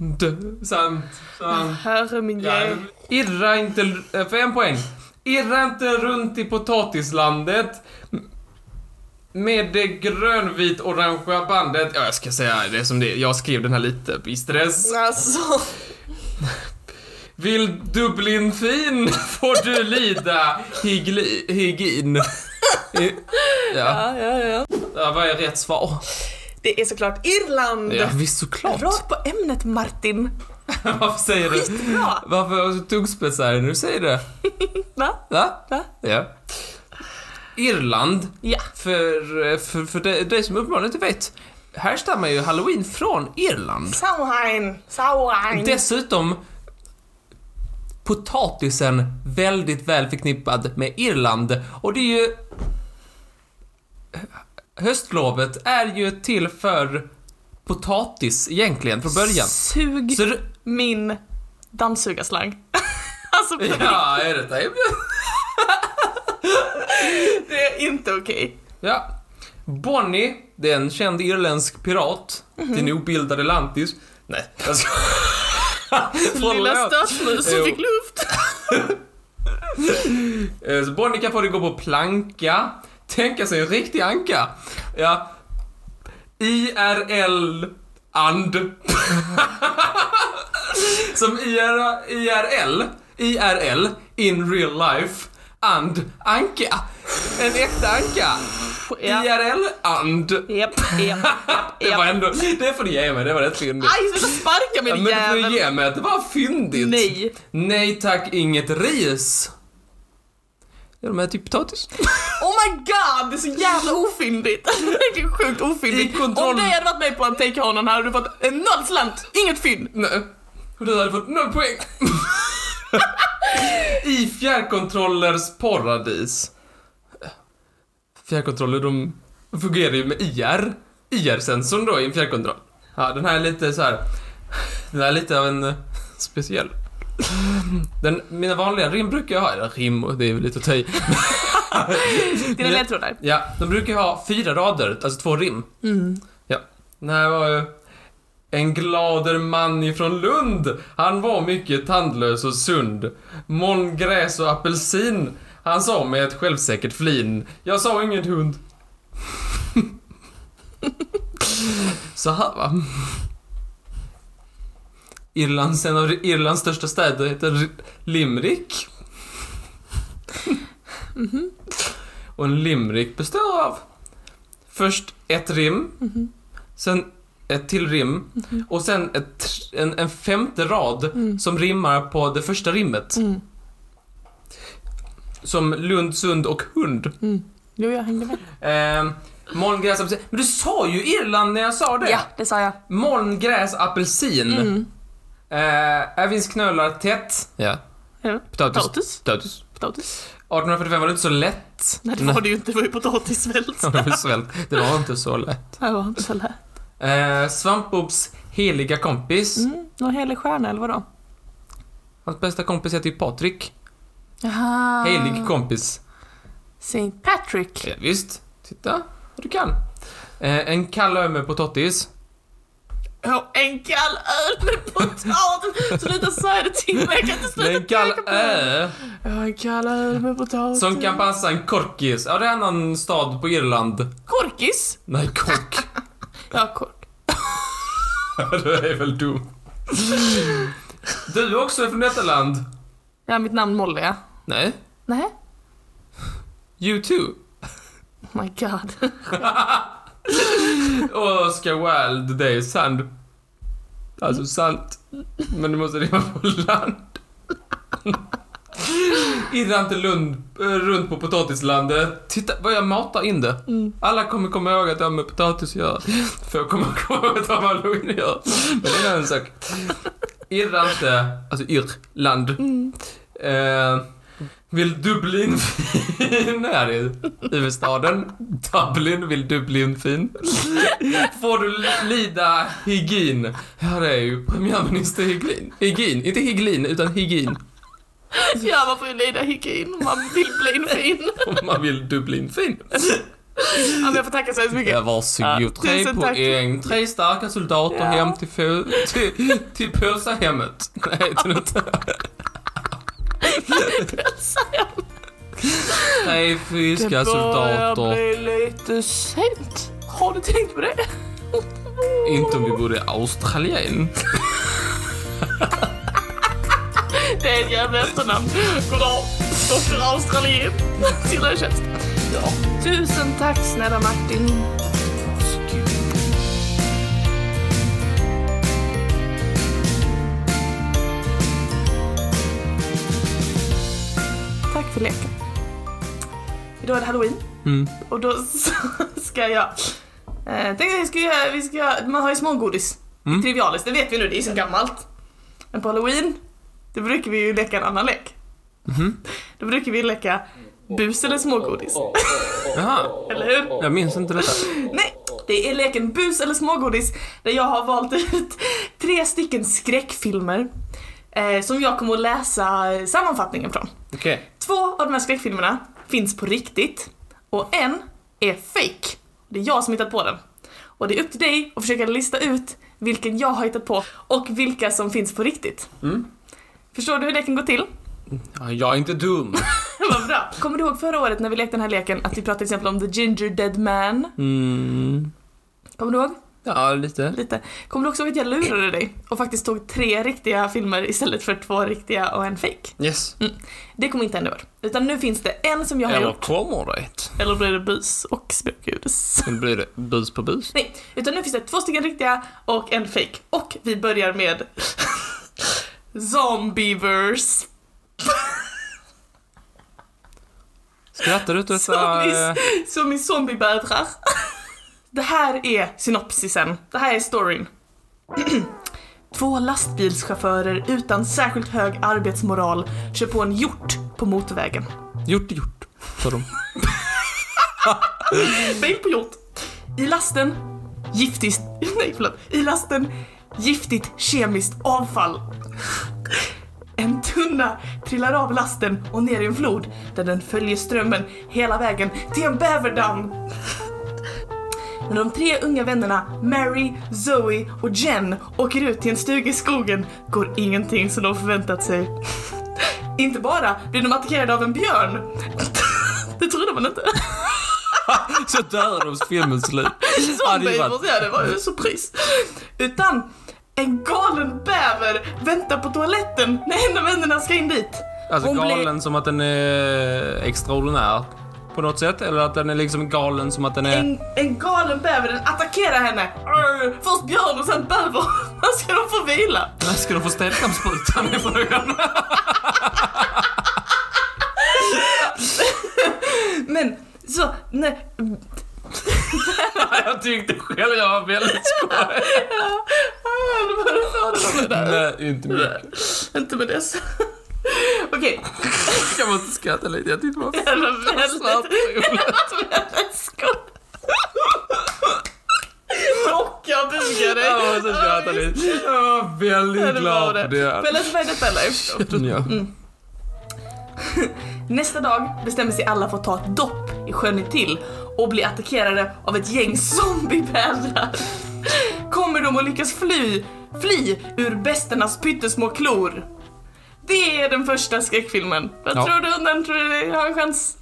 Speaker 1: Sant. Sant.
Speaker 2: Herre min
Speaker 1: Ja,
Speaker 2: ja.
Speaker 1: irra inte... eh, För en poäng. Irra inte runt i potatislandet med det grönvit-orangea bandet. Ja, jag ska säga det som det är. Jag skrev den här lite i stress.
Speaker 2: Alltså,
Speaker 1: Vill Dublin fin får du lida higli, hygin. I- Ja.
Speaker 2: ja, ja, ja.
Speaker 1: ja, vad är rätt svar?
Speaker 2: Det är såklart Irland!
Speaker 1: Ja, visst såklart.
Speaker 2: Rakt på ämnet Martin!
Speaker 1: Varför säger du?
Speaker 2: Skitbra!
Speaker 1: Varför är du så tungspetsad när du säger det?
Speaker 2: Va?
Speaker 1: Va?
Speaker 2: Va?
Speaker 1: Ja. Irland
Speaker 2: Ja.
Speaker 1: För, eh, för, för dig de som uppenbarligen inte vet, härstammar ju halloween från Irland.
Speaker 2: Samhain! Samhain!
Speaker 1: Dessutom potatisen väldigt väl förknippad med Irland. Och det är ju... Höstlovet är ju till för potatis egentligen från början.
Speaker 2: Sug
Speaker 1: Så du...
Speaker 2: min dammsugarslang. alltså, på
Speaker 1: Ja, är det det?
Speaker 2: riktigt, det är inte okej.
Speaker 1: Ja. Bonnie, det är en känd irländsk pirat.
Speaker 2: Mhm.
Speaker 1: Din obildade lantis. Nej, jag ska...
Speaker 2: Lilla
Speaker 1: Förlåt.
Speaker 2: stötmusen
Speaker 1: Jo.
Speaker 2: fick luft.
Speaker 1: Eh, Så Bonnica får det gå på planka. Tänka sig en riktig anka. Ja. IRL and. Som IR, IRL. IRL. In real life. And anka. En äkta anka.
Speaker 2: Ja.
Speaker 1: IRL and.
Speaker 2: Japp, japp, japp,
Speaker 1: Det var
Speaker 2: japp.
Speaker 1: ändå, det får du ge mig, det var rätt fyndigt.
Speaker 2: Aj, sluta sparka
Speaker 1: Ja,
Speaker 2: mig
Speaker 1: men
Speaker 2: din
Speaker 1: du får
Speaker 2: jävel!
Speaker 1: ge mig att det var fyndigt.
Speaker 2: Nej.
Speaker 1: Nej tack, inget ris. Ja, de här typ potatis.
Speaker 2: Oh my god, det är så jävla ofyndigt! Det är sjukt ofyndigt.
Speaker 1: I kontroll-
Speaker 2: Om du hade varit med på en take honom här hade du fått en noll slant, inget fynd.
Speaker 1: Nej. Och du hade fått noll poäng. I fjärrkontrollers paradis. Fjärrkontroller, de fungerar ju med IR. IR-sensorn då i en fjärrkontroll. Ja, den här är lite så här. Den här är lite av en eh, speciell. Den, mina vanliga rim brukar jag ha, eller rim, och det är väl lite att ta i.
Speaker 2: Dina
Speaker 1: Men-
Speaker 2: ledtrådar.
Speaker 1: Ja, de brukar ju ha fyra rader, alltså två rim. Ja. Den här var ju... En glader man ifrån Lund. Han var mycket tandlös och sund. Moln, gräs och apelsin. Han sa med ett självsäkert flin. Jag sa inget hund. Så här va. Irlands, en av Irlands största städer heter Limerick. Och en limerick består av först ett rim,
Speaker 3: Mm-hmm.
Speaker 1: sen ett till rim och sen ett, tr- en, en femte rad som rimmar på det första rimmet.
Speaker 3: Mm.
Speaker 1: Som Lund, Sund och Hund.
Speaker 3: Jo, jag hängde med.
Speaker 1: Eh, moln, gräs, apelsin. Men du sa ju Irland när jag sa det!
Speaker 3: Ja, det sa jag.
Speaker 1: Moln, gräs, apelsin.
Speaker 3: Mm.
Speaker 1: Eh, här finns knölar tätt. Ja.
Speaker 2: Ja.
Speaker 1: Potatis.
Speaker 2: Potatis.
Speaker 1: Potatis.
Speaker 2: Potatis.
Speaker 1: 1845 var det inte så lätt.
Speaker 2: Nej det var det ju inte, det var ju potatisvält.
Speaker 1: Ja, det var svält. Det var inte så lätt.
Speaker 2: Det var inte så lätt.
Speaker 1: Eh, Svampbobs heliga kompis.
Speaker 3: Mm. Någon helig stjärna eller vadå?
Speaker 1: Hans bästa kompis heter ju Patrik.
Speaker 3: Jaha.
Speaker 2: Ah.
Speaker 1: Helig kompis.
Speaker 3: St. Patrick.
Speaker 1: Ja, visst. Titta vad du kan. Eh, en kall öl med potatis.
Speaker 2: Ja, en kall öl med potatis! Sluta säga det till mig, jag kan inte sluta
Speaker 1: Nej, en kall
Speaker 2: tänka på det.
Speaker 1: ö
Speaker 2: Ja, en kall öl med potatis.
Speaker 1: som kan passa en korkis. Ja, det är en annan stad på Irland.
Speaker 2: Korkis?
Speaker 1: Nej, kork.
Speaker 2: Ja, kork.
Speaker 1: du är väl dum. Du är också från detta land.
Speaker 2: Ja, mitt namn Molly, ja.
Speaker 1: Nej.
Speaker 2: Nej.
Speaker 1: You too.
Speaker 2: Oh my god.
Speaker 1: Oscar Wilde, det är sand. Alltså sant. Men du måste rimma på land. Irra inte lund, eh, runt på potatislandet. Titta vad jag matar in det. Alla kommer komma ihåg att det har med potatis att göra. För jag kommer komma ihåg att det har med halloween att göra. Men det är en annan sak. Irra inte, alltså Irland. Eh, vill Dublin fin? Här är huvudstaden. Dublin vill Dublin fin. Får du lida hygien? Ja, det är ju premiärminister Hygien. Hygien, inte Hyglin, utan hygien.
Speaker 2: Ja, man får ju lida hygien om man vill bli en fin.
Speaker 1: Om man vill Dublin fin.
Speaker 2: Ja, men jag får tacka så hemskt mycket.
Speaker 1: Ja, varsågod.
Speaker 2: Ja,
Speaker 1: tre
Speaker 2: tusen tack.
Speaker 1: poäng. Tre starka soldater
Speaker 2: Ja.
Speaker 1: hem till, fö- till, till Pölsahemmet. Nej, det heter det inte. Tre friska soldater.
Speaker 2: bli lite sent. Har du tänkt på det?
Speaker 1: Inte om vi bodde i Australien.
Speaker 2: Det är ett jävla efternamn. Goddag, doktor Australien. Till er tjänst.
Speaker 1: Ja.
Speaker 2: Tusen tack snälla Martin. Tack för leken. Idag är det halloween
Speaker 1: Mm.
Speaker 2: och då s- ska jag... Eh, tänkte vi ska göra, vi ska, göra- man har ju smågodis.
Speaker 1: Mm.
Speaker 2: Trivialis, det vet vi nu, det är så gammalt. Men på halloween, då brukar vi ju leka en annan lek.
Speaker 1: Mhm.
Speaker 2: Då brukar vi leka bus eller smågodis.
Speaker 1: Jaha,
Speaker 2: Eller hur?
Speaker 1: jag minns inte detta.
Speaker 2: Nej, det är leken bus eller smågodis där jag har valt ut tre stycken skräckfilmer eh, som jag kommer att läsa sammanfattningen från.
Speaker 1: Okej.
Speaker 2: Två av de här skräckfilmerna finns på riktigt och en är fake. Det är jag som hittat på den. Och det är upp till dig att försöka lista ut vilken jag har hittat på och vilka som finns på riktigt.
Speaker 1: Mm.
Speaker 2: Förstår du hur leken går till?
Speaker 1: Ja, jag är inte dum.
Speaker 2: Vad bra! Kommer du ihåg förra året när vi lekte den här leken att vi pratade till exempel om The Ginger Dead Man?
Speaker 1: Mm.
Speaker 2: Kommer du ihåg?
Speaker 1: Ja, lite.
Speaker 2: Lite. Kommer du också ihåg att jag lurade dig och faktiskt tog tre riktiga filmer istället för två riktiga och en fake?
Speaker 1: Yes.
Speaker 2: Det kommer inte hända i år. Utan nu finns det en som jag har
Speaker 1: Mm, Eller
Speaker 2: gjort.
Speaker 1: kommer det?
Speaker 2: Eller blir det bus och spökljus?
Speaker 1: Nu blir det bus på bus.
Speaker 2: Nej, utan nu finns det två stycken riktiga och en fake. Och vi börjar med Zombievers.
Speaker 1: Skrattar du åt detta? eh,
Speaker 2: Zombies, som i zombiebädrar. Det här är synopsisen. Det här är storyn. Två lastbilschaufförer utan särskilt hög arbetsmoral kör på en hjort på motorvägen.
Speaker 1: eh, Gjort är gjort, sa de.
Speaker 2: Bild på hjort. I lasten giftigt... Nej, förlåt. I lasten giftigt kemiskt avfall. En tunna trillar av lasten och ner i en flod där den följer strömmen hela vägen till en bäverdamm. när de tre unga vännerna Mary, Zoe och Jen åker ut till en stuga i skogen går ingenting som de förväntat sig. Inte bara blir de attackerade av en björn. Det trodde man inte.
Speaker 1: Så dör de filmens slut. Ja, det är
Speaker 2: Zombie,
Speaker 1: bara-
Speaker 2: måste jag säga, det var ju en surpris. Utan en galen bäver väntar på toaletten när en av vännerna ska in dit.
Speaker 1: Alltså
Speaker 2: Hon blir-
Speaker 1: galen som att den är eh, extraordinär på något sätt eller att den är liksom galen som att den är...
Speaker 2: En, en galen bäver den attackerar henne. Arr, först björn och sen bäver. När ska de få vila?
Speaker 1: När ska de få städkampssprutan i frågan?
Speaker 2: Men så, nej.
Speaker 1: Jag tyckte själv jag var väldigt skoj.
Speaker 2: Ah, det var det första med det där.
Speaker 1: Nej, inte mycket.
Speaker 2: Inte med det så. Okej,
Speaker 1: Jag måste skratta lite. Jag tyckte det var
Speaker 2: det här var väldigt,
Speaker 1: snabbt roligt.
Speaker 2: väldigt skoj. Och jag bugar dig.
Speaker 1: Jag måste skratta lite. Jag var
Speaker 2: Ja,
Speaker 1: väldigt
Speaker 2: det
Speaker 1: glad
Speaker 2: var
Speaker 1: för
Speaker 2: det.
Speaker 1: det.
Speaker 2: Får jag läsa färdigt detta eller?
Speaker 1: Ja.
Speaker 2: Nästa dag bestämmer sig alla för att ta ett dopp i sjön till och bli attackerade av ett gäng zombiebävrar. Kommer de att lyckas fly, fly ur besternas pyttesmå klor? Det är den första skräckfilmen. Vad
Speaker 1: Ja.
Speaker 2: tror du om den? Tror du det har en chans?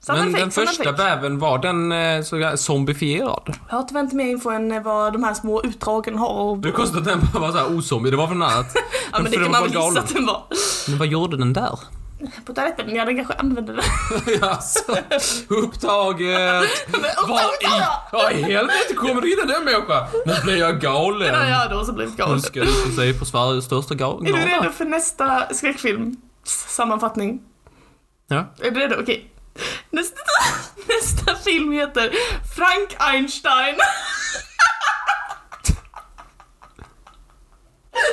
Speaker 2: Sanna
Speaker 1: Men
Speaker 2: fake,
Speaker 1: den
Speaker 2: sanna
Speaker 1: första
Speaker 2: fake.
Speaker 1: bävern var den eh, så kallad zombifierad?
Speaker 2: Jag har tyvärr inte mer info än eh, vad de här små utdragen har. Och...
Speaker 1: Det är konstigt att den bara var såhär osombie, det var från annat.
Speaker 2: Ja men det
Speaker 1: för
Speaker 2: kan
Speaker 1: den
Speaker 2: man
Speaker 1: var
Speaker 2: väl gissa
Speaker 1: galen.
Speaker 2: att den var.
Speaker 1: Men vad gjorde den där?
Speaker 2: På toaletten, ja den kanske använde den.
Speaker 1: Jaså? Upptaget? Vad
Speaker 2: Alltså,
Speaker 1: i, vad i helvete kommer du in i den människan? Nu blir jag galen.
Speaker 2: Den har jag då också blivit galen.
Speaker 1: Nu ska du få se på Sveriges största gal-
Speaker 2: Är du redo
Speaker 1: gala.
Speaker 2: för nästa skräckfilm? S- Sammanfattning.
Speaker 1: Ja.
Speaker 2: Är du redo? Okej. Nästa, nästa film heter Frank Einstein.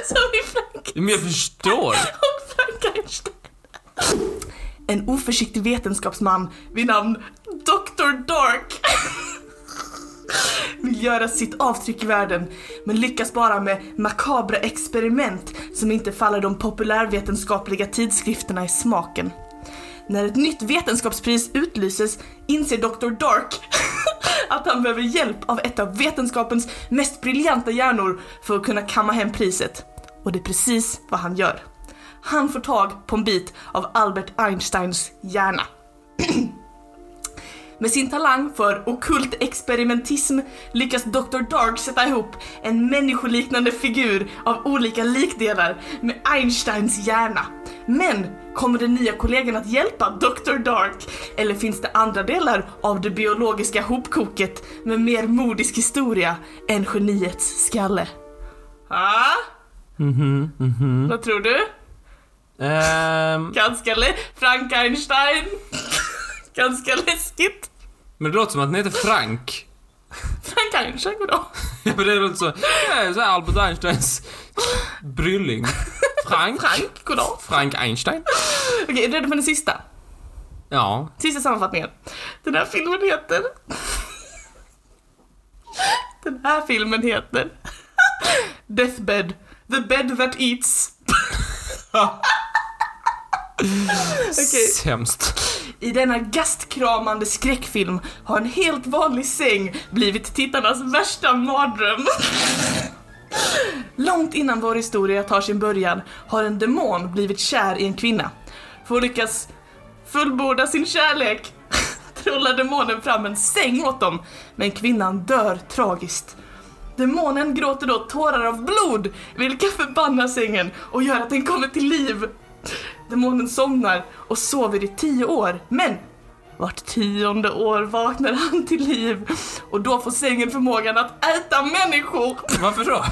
Speaker 2: Som i Frank
Speaker 1: Men jag förstår.
Speaker 2: och Frank Einstein. En oförsiktig vetenskapsman vid namn Dr. Dark vill göra sitt avtryck i världen men lyckas bara med makabra experiment som inte faller de populärvetenskapliga tidskrifterna i smaken. När ett nytt vetenskapspris utlyses inser Dr. Dark att han behöver hjälp av ett av vetenskapens mest briljanta hjärnor för att kunna kamma hem priset. Och det är precis vad han gör. Han får tag på en bit av Albert Einsteins hjärna. Med sin talang för okult experimentism lyckas Dr. Dark sätta ihop en människoliknande figur av olika likdelar med Einsteins hjärna. Men kommer den nya kollegan att hjälpa Dr. Dark? Eller finns det andra delar av det biologiska hopkoket med mer modisk historia än geniets skalle? Ah?
Speaker 1: Mhm, mhm.
Speaker 2: Vad tror du?
Speaker 1: Ehm,
Speaker 2: Ganska lä- Frank Einstein. Ganska läskigt.
Speaker 1: men det låter som att den heter Frank.
Speaker 2: Frank Einstein, goddag.
Speaker 1: Ja, men det låter så, ja, så här Albert Einsteins brylling. Frank.
Speaker 2: Frank, goddag.
Speaker 1: Frank Einstein.
Speaker 2: Okej, är du redo för den sista?
Speaker 1: Ja.
Speaker 2: Sista sammanfattningen. Den här filmen heter... Den här filmen heter... Deathbed. The bed that eats. Okej.
Speaker 1: Sämst.
Speaker 2: I denna gastkramande skräckfilm har en helt vanlig säng blivit tittarnas värsta mardröm. Långt innan vår historia tar sin början har en demon blivit kär i en kvinna. För att lyckas fullborda sin kärlek trollar demonen fram en säng åt dem, men kvinnan dör tragiskt. Demonen gråter då tårar av blod, vilka förbannar sängen och gör att den kommer till liv. Demonen somnar och sover i tio år, men vart tionde år vaknar han till liv och då får sängen förmågan att äta människor.
Speaker 1: Varför då?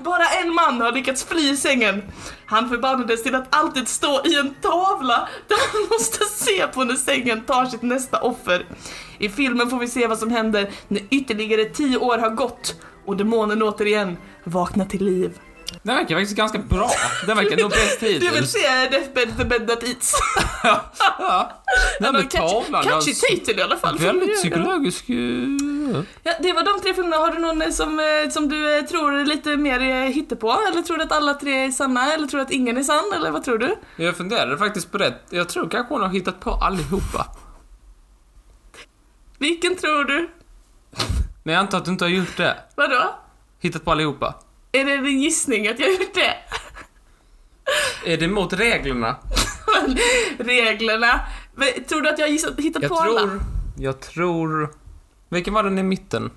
Speaker 2: Bara en man har lyckats fly i sängen. Han förbannades till att alltid stå i en tavla där han måste se på när sängen tar sitt nästa offer. I filmen får vi se vad som händer när ytterligare tio år har gått och demonen återigen vaknar till liv.
Speaker 1: Den verkar faktiskt ganska bra. Den verkar nog bäst
Speaker 2: Du vill
Speaker 1: hittills.
Speaker 2: se Deathbed the Bed That Eats?
Speaker 1: Ja. Den med tavlan. alltså. den-
Speaker 2: Catchy titel i alla fall.
Speaker 1: Väldigt
Speaker 2: Får du göra.
Speaker 1: psykologisk. eh,
Speaker 2: Ja, det var de tre filmerna. Har du någon eh, som, eh, som du eh, tror är lite mer eh, hittepå? Eller tror du att alla tre är sanna? Eller tror du att ingen är sann? Eller vad tror du?
Speaker 1: Jag funderade faktiskt på det. Jag tror kanske hon har hittat på allihopa.
Speaker 2: Vilken tror du?
Speaker 1: Men jag antar att du inte har gjort det.
Speaker 2: Vadå?
Speaker 1: Hittat på allihopa.
Speaker 2: Är det din gissning att jag har gjort det?
Speaker 1: Är det mot reglerna?
Speaker 2: Reglerna. Men, tror du att jag har gissat, hittat
Speaker 1: Jag
Speaker 2: på alla?
Speaker 1: tror... Jag tror... Vilken var den i mitten?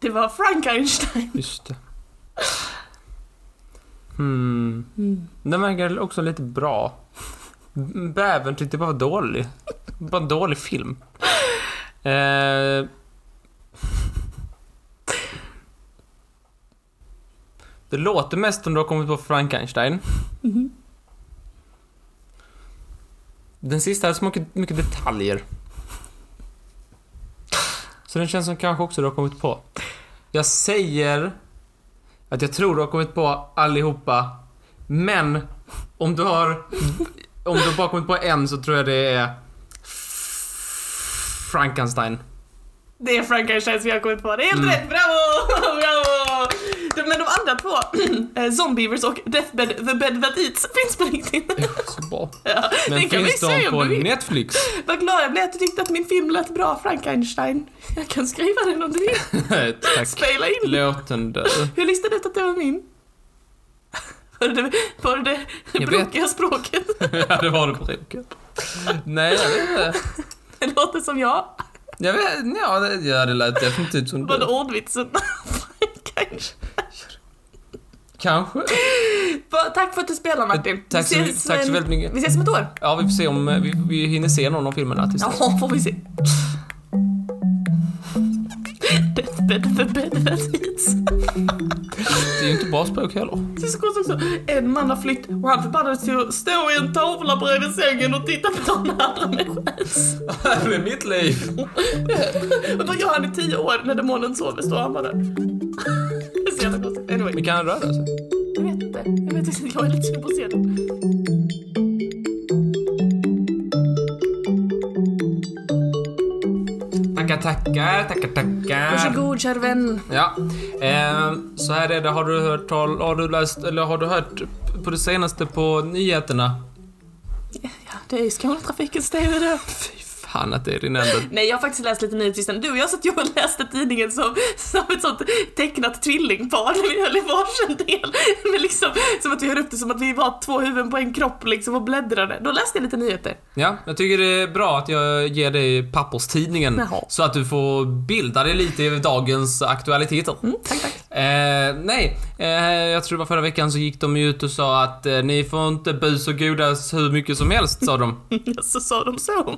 Speaker 2: Det var Frankenstein.
Speaker 1: Just det. Hmm. Den verkar också lite bra. B- Bävern tyckte jag bara var dålig. Bara en dålig film. Eh. Det låter mest som du har kommit på Frankenstein. Mm. Den sista hade så mycket, mycket detaljer. Så den känns som kanske också du har kommit på. Jag säger att jag tror du har kommit på allihopa. Men om du har... Om du bara kommit på en så tror jag det är... Frankenstein.
Speaker 2: Det är Frankenstein som jag har kommit på. Det är helt
Speaker 1: Mm.
Speaker 2: rätt, bravo! bravo! De- Men de andra två, eh, Zombievers och Deathbed, The Bed That Eats, finns på riktigt.
Speaker 1: Så bra.
Speaker 2: Ja,
Speaker 1: Men
Speaker 2: den kan vi
Speaker 1: finns de
Speaker 2: se
Speaker 1: på
Speaker 2: om du vill.
Speaker 1: Netflix?
Speaker 2: Vad glad jag blev att du tyckte att min film lät bra, Frankenstein. Jag kan skriva den om du vill.
Speaker 1: Tack.
Speaker 2: Spela in.
Speaker 1: Låt den dö.
Speaker 2: Hur listade du ut att det var min? Var det var det, det
Speaker 1: Jag vet.
Speaker 2: brokiga språket?
Speaker 1: Ja, det var det på råket. Nej, jag vet inte.
Speaker 2: Det låter som jag.
Speaker 1: Jag vet, ja, det, ja, det lät definitivt som
Speaker 2: Var det
Speaker 1: du.
Speaker 2: ordvitsen? Frankenstein.
Speaker 1: Kanske.
Speaker 2: Va, Tack för att du spelar Martin.
Speaker 1: Tack så,
Speaker 2: Vi
Speaker 1: tack
Speaker 2: ses,
Speaker 1: så
Speaker 2: eh,
Speaker 1: väldigt mycket.
Speaker 2: Vi ses om ett år.
Speaker 1: Ja, vi får se om eh, vi, vi hinner se någon av filmerna tills
Speaker 2: Ja,
Speaker 1: dess.
Speaker 2: får vi se. Death bed, the bed that eats.
Speaker 1: Det är ju inte bra språk heller.
Speaker 2: Det är så konstigt också. En man har flytt och han förbannades till att stå i en tavla bredvid sängen och titta på den andra människans.
Speaker 1: Det här är mitt liv.
Speaker 2: Och Vad gör han i tio år när demonen sover? Står han bara där? Det är så jävla konstigt. Anyway.
Speaker 1: Men kan han röra sig?
Speaker 2: Jag vet inte. Jag vet inte. Jag är lite sugen på att se den.
Speaker 1: Tackar, tackar, tackar, tackar.
Speaker 2: Varsågod kära vän.
Speaker 1: Ja. Ehm, så här är det, har du hört tal, har du läst, eller har du hört på det senaste på nyheterna?
Speaker 2: Ja, det är ju Skånetrafikens TV det.
Speaker 1: Fy fan att det är din enda...
Speaker 2: Nej, jag har faktiskt läst lite nyhetssystem. Du och jag satt ju och läste tidningen som, som ett sånt tecknat tvillingpar när vi höll i varsin del. Men liksom, som att vi höll upp det som att vi var två huvuden på en kropp liksom och bläddrade. Då läste jag lite nyheter.
Speaker 1: Ja, jag tycker det är bra att jag ger dig papperstidningen.
Speaker 2: Jaha.
Speaker 1: Så att du får bilda dig lite i dagens aktualiteter.
Speaker 2: Tack, tack.
Speaker 1: Eh, nej, eh, jag tror det var förra veckan så gick de ju ut och sa att eh, ni får inte bus och godas hur mycket som helst, sa de.
Speaker 2: Så sa de så.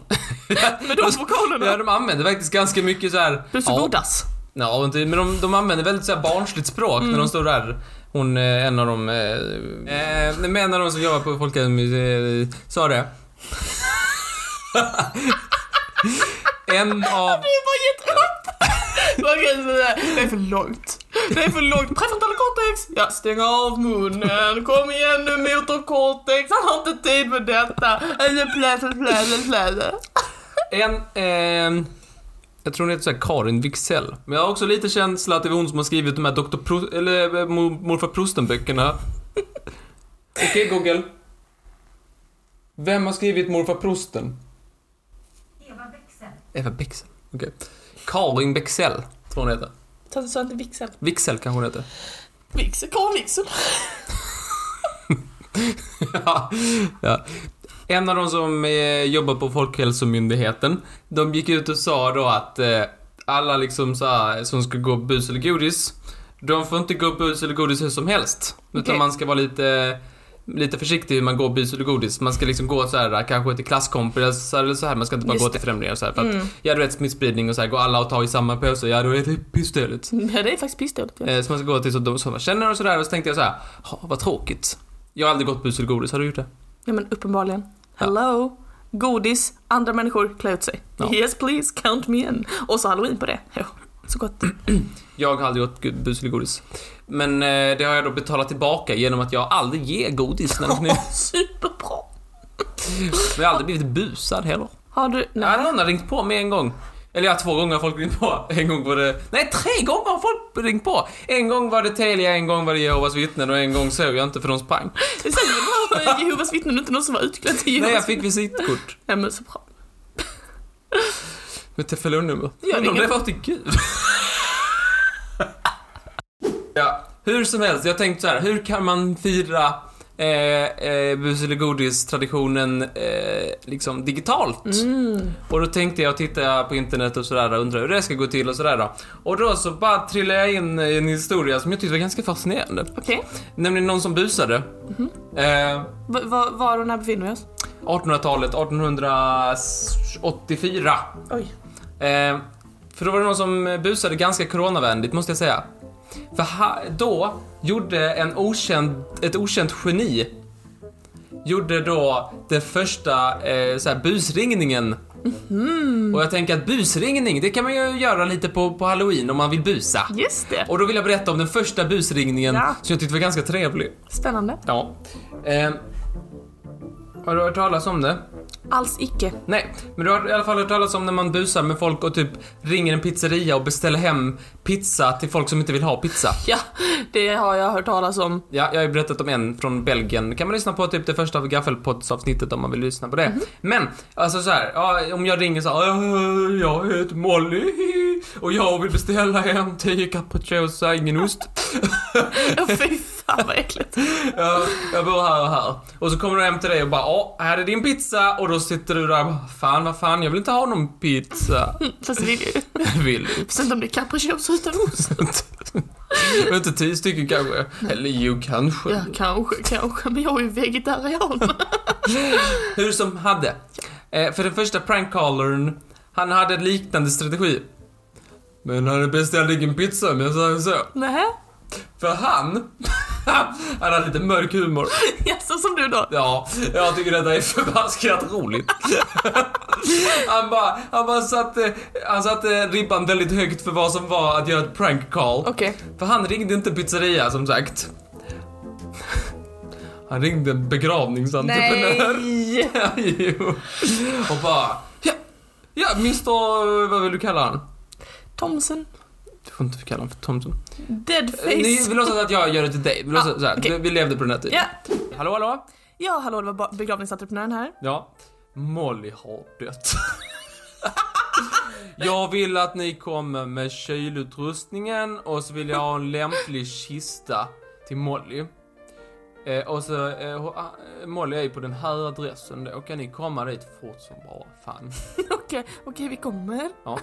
Speaker 2: Med de vokalerna.
Speaker 1: Ja, de använde faktiskt ganska mycket så här.
Speaker 2: Bus och
Speaker 1: ja,
Speaker 2: godas.
Speaker 1: Ja, och inte- men de, de använder väldigt så här barnsligt språk när
Speaker 2: Mm.
Speaker 1: de står där. Hon, eh, en av dem... Eh, eh, men en av dem som jobbar på Folkhälsomuseet eh, sa det. en av...
Speaker 2: Du har bara gett upp! Okej, sådär. Det är för långt. Det är för långt. Prefrontala cortex! Ja, stäng av munnen. Kom igen nu motorcortex. Han har inte tid med detta. Äh, Eller pläder, pläder, pläder.
Speaker 1: En... ehm, jag tror hon heter så här Karin Wixell. Men jag har också lite känsla att det var hon som har skrivit de här Dr. Pro, eller eh, mor, Morfar Prosten-böckerna. Okej, Google. Vem har skrivit Morfar Prosten?
Speaker 4: Eva Bexel.
Speaker 1: Eva Bexell. Okej. Karin Bexell, tror hon heter.
Speaker 2: Tant sa inte vixen.
Speaker 1: Wixell kanske hon heter.
Speaker 2: Vixen, kom vixen.
Speaker 1: ja. ja. En av de som eh, jobbar på Folkhälsomyndigheten, de gick ut och sa då att eh, alla liksom så här, som ska gå bus eller godis, de får inte gå bus eller godis hur som helst. Utan
Speaker 2: Okej.
Speaker 1: man ska vara lite, lite försiktig hur man går bus eller godis. Man ska liksom gå så här, kanske till klasskompisar eller så här. Man ska inte bara
Speaker 2: Just Mm.
Speaker 1: gå till främlingar och så här, för att, ja du vet smittspridning och så här, går alla och tar i samma påse, ja då är det pissdödligt.
Speaker 2: Ja, det är faktiskt pissdåligt. ja.
Speaker 1: Eh, som man ska gå till så de som man känner och sådär. Och så tänkte jag så här, "Ha, vad tråkigt. Jag har aldrig gått bus eller godis, har du gjort det?
Speaker 2: Ja, men uppenbarligen. Hello. Godis, andra människor, klä ut sig.
Speaker 1: Ja.
Speaker 2: Yes please, count me in. Och så halloween på det. Ja, så gott.
Speaker 1: Jag har aldrig gått gu- bus eller godis. Men eh, det har jag då betalat tillbaka genom att jag aldrig ger godis. När de knä-
Speaker 2: Superbra.
Speaker 1: jag har aldrig blivit busad heller.
Speaker 2: Har du... Nej.
Speaker 1: Nej, någon har ringt på mig en gång. Eller ja, två gånger har folk ringt på. En gång var det... Nej, tre gånger har folk ringt på! En gång var det Telia, en gång var det Jehovas vittnen och en gång såg jag inte för de sprang.
Speaker 2: Det säger väl
Speaker 3: eh,
Speaker 2: bara Jehovas vittnen, inte någon som var utklädd till
Speaker 1: Nej, jag
Speaker 2: Jehovas
Speaker 1: fick visitkort.
Speaker 2: Ja men så bra.
Speaker 1: Med telefonnummer.
Speaker 2: Det gör
Speaker 1: Undrar om det
Speaker 2: inget.
Speaker 1: var till Gud. ja, hur som helst, jag tänkte så här, hur kan man fira eh, eh, bus eller godis-traditionen eh, liksom digitalt?
Speaker 3: Mm.
Speaker 1: Och då tänkte jag titta på internet och sådär och undra hur det ska gå till och sådär då. Och då så bara trillade jag in i en historia som jag tyckte var ganska fascinerande.
Speaker 3: Okej.
Speaker 1: Nämligen någon som busade.
Speaker 2: Mhm.
Speaker 1: Eh,
Speaker 3: Va- va- var och när befinner vi oss?
Speaker 1: 1800-talet, 1884.
Speaker 2: Oj.
Speaker 1: Eh, för då var det någon som busade ganska coronavänligt, måste jag säga. För ha, då gjorde en okänd, ett okänt geni gjorde då den första eh, så här busringningen. Och jag tänker att busringning, det kan man ju göra lite på, på halloween om man vill busa.
Speaker 3: Just det.
Speaker 1: Och då vill jag berätta om den första busringningen
Speaker 3: Ja.
Speaker 1: som jag tyckte var ganska trevlig.
Speaker 3: Spännande.
Speaker 1: Ja. Eh, har du hört talas om det?
Speaker 3: Alls icke.
Speaker 1: Nej, men du har i alla fall hört talas om när man busar med folk och typ ringer en pizzeria och beställer hem pizza till folk som inte vill ha pizza.
Speaker 3: Ja, det har jag hört talas om.
Speaker 1: Ja, jag har ju berättat om en från Belgien. Kan man lyssna på typ det första gaffelpoddsavsnittet om man vill lyssna på det. Men, alltså så här, ja, om jag ringer så här, "Äh, jag heter Molly och jag vill beställa hem 10 capricciosa, ingen ost.
Speaker 3: Ja, Fy fan vad äckligt.
Speaker 1: Ja, jag bor här och här. Och så kommer de hem till dig och bara, åh, här är din pizza. Och då sitter du där och bara, fan, vad fan, jag vill inte ha någon pizza.
Speaker 3: Fast det är ju...
Speaker 1: Vill du?
Speaker 3: Fast inte om det är capricciosa utan ost.
Speaker 1: Men inte tio stycken kanske. Eller jo, kanske.
Speaker 3: Ja, kanske, kanske. Men jag är ju vegetarian.
Speaker 1: Hur som hade. Eh, för den första prankcallern, han hade en liknande strategi. Men han beställde ingen pizza om jag säger så.
Speaker 3: Nähä?
Speaker 1: För han, han hade lite mörk humor.
Speaker 3: Jaså, som du då?
Speaker 1: Ja, jag tycker detta är förbaskat roligt. Han bara, han bara satte, han satte ribban väldigt högt för vad som var att göra ett prank call.
Speaker 3: Okej.
Speaker 1: För han ringde inte pizzeria som sagt. Han ringde en begravningsentreprenör.
Speaker 3: Nej!
Speaker 1: jo. Och bara, ja, ja, Mr... Vad vill du kalla han?
Speaker 3: Thomsen.
Speaker 1: Du får inte kalla honom för Thompson.
Speaker 3: Deadface.
Speaker 1: Ni vill låtsas att jag gör det till dig. Vi, låtsas,
Speaker 3: Ah,
Speaker 1: så här,
Speaker 3: okej.
Speaker 1: vi- vi levde på den här tiden.
Speaker 3: Ja.
Speaker 1: Hallå, hallå?
Speaker 3: ja, hallå, det var ba- begravningsentreprenören här.
Speaker 1: Ja. Molly har dött. jag vill att ni kommer med kylutrustningen och så vill jag ha en lämplig kista till Molly. Eh, och så, eh, ho- ah, Molly är ju på den här adressen då, kan ni komma dit fort som bara fan.
Speaker 3: Okej, okej, vi kommer.
Speaker 1: Ja.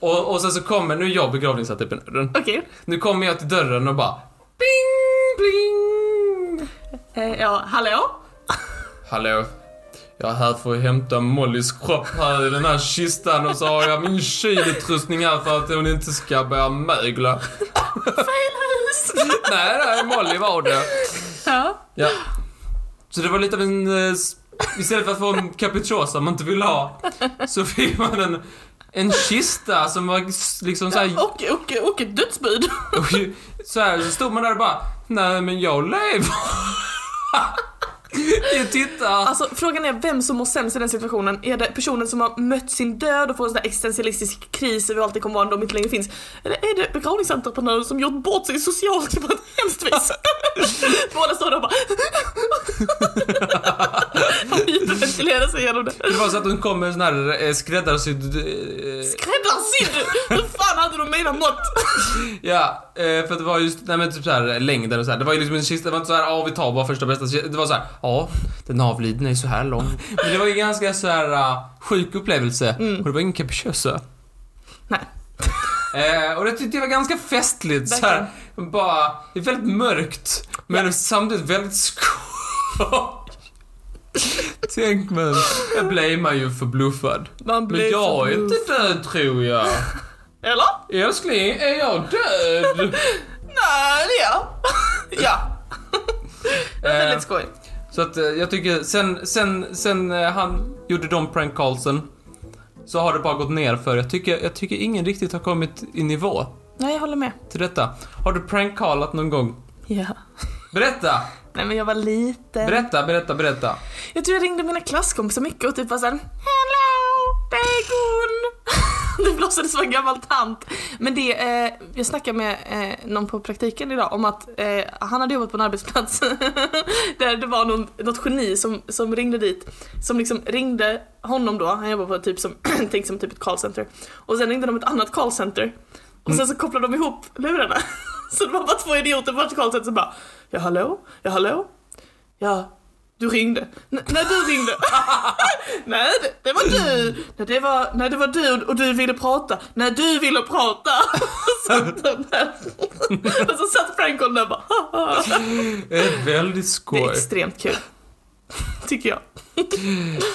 Speaker 1: Och, och sen så kommer, nu är jag begravningsentreprenören.
Speaker 3: Okej.
Speaker 1: Nu kommer jag till dörren och bara pling, pling.
Speaker 2: Eh, ja, hallå?
Speaker 1: Hallå. Jag är här för att hämta Mollys kropp här i den här kistan och så har jag min kylutrustning här för att hon inte ska börja mögla. Fel hus! Nej, nej, Molly var det.
Speaker 3: Ja.
Speaker 1: Ja. Så det var lite av en... eh, s- Istället för att få en capricciosa man inte ville ha så fick man en, en kista som var s- liksom såhär...
Speaker 3: Och, och, och ett dödsbud.
Speaker 1: Och ju- så här så stod man där och bara, nej men jag lever. jag tittar.
Speaker 2: Alltså frågan är vem som mår sämst i den situationen. Är det personen som har mött sin död och får en sån där existentialistisk kris över allt det kommer vara när de inte längre finns? Eller är det begravningsentreprenören som gjort bort sig socialt på ett hemskt vis? Båda står där och bara... De hyperventilerar sig igenom det.
Speaker 1: Det var så att hon kom med en sån här eh, skräddarsydd... eh,
Speaker 2: Skräddarsydd! Hur fan hade de mina mått?
Speaker 1: Ja, eh, för att det var just, nej men typ såhär längden och så här. Det var ju liksom en kista, det var inte såhär, ja vi tar bara första bästa kista. Det var såhär, ja den avlidne är så här lång. Men det var ju en ganska såhär uh, sjuk upplevelse. Och det var ingen capricciosa.
Speaker 2: Nej.
Speaker 1: Eh, och det tyckte jag var ganska festligt så här, bara, det är väldigt mörkt. Men samtidigt väldigt skoj. Tänk men, jag blev man ju förbluffad.
Speaker 2: Man
Speaker 1: Men jag är inte död tror jag.
Speaker 2: Eller?
Speaker 1: Älskling, är jag död?
Speaker 2: Nej, det är jag. Ja,
Speaker 1: Eh,
Speaker 2: väldigt skoj.
Speaker 1: Så att eh, jag tycker, sen, sen, sen eh, han gjorde de prank callsen så har det bara gått ner för. Jag tycker, jag tycker ingen riktigt har kommit i nivå
Speaker 3: Nej, jag håller med.
Speaker 1: till detta. Har du prank callat någon gång?
Speaker 3: Ja.
Speaker 1: Berätta!
Speaker 3: Nej, men jag var liten.
Speaker 1: Berätta, berätta, berätta.
Speaker 3: Jag tror jag ringde mina klasskompisar mycket och typ var såhär Hello, det är Gun!
Speaker 2: det blåsades av en gammal tant. Men det, eh, jag snackade med eh, någon på praktiken idag om att eh, han hade jobbat på en arbetsplats där det var någon, något geni som, som ringde dit. Som liksom ringde honom då, han jobbar på typ som, tänk som typ ett callcenter. Och sen ringde de ett annat callcenter. Och sen så kopplade de ihop lurarna. så det var bara två idioter på varsitt callcenter som bara Ja hallå, ja hallå, ja du ringde. N- när du ringde. Nej, det, det var du! Nej det var, nej, det var du och du ville prata. När du ville prata! satt de där. och så satt Frank där och bara "Haha."
Speaker 1: Det är väldigt
Speaker 2: Det är
Speaker 1: skoj.
Speaker 2: extremt kul. Tycker jag.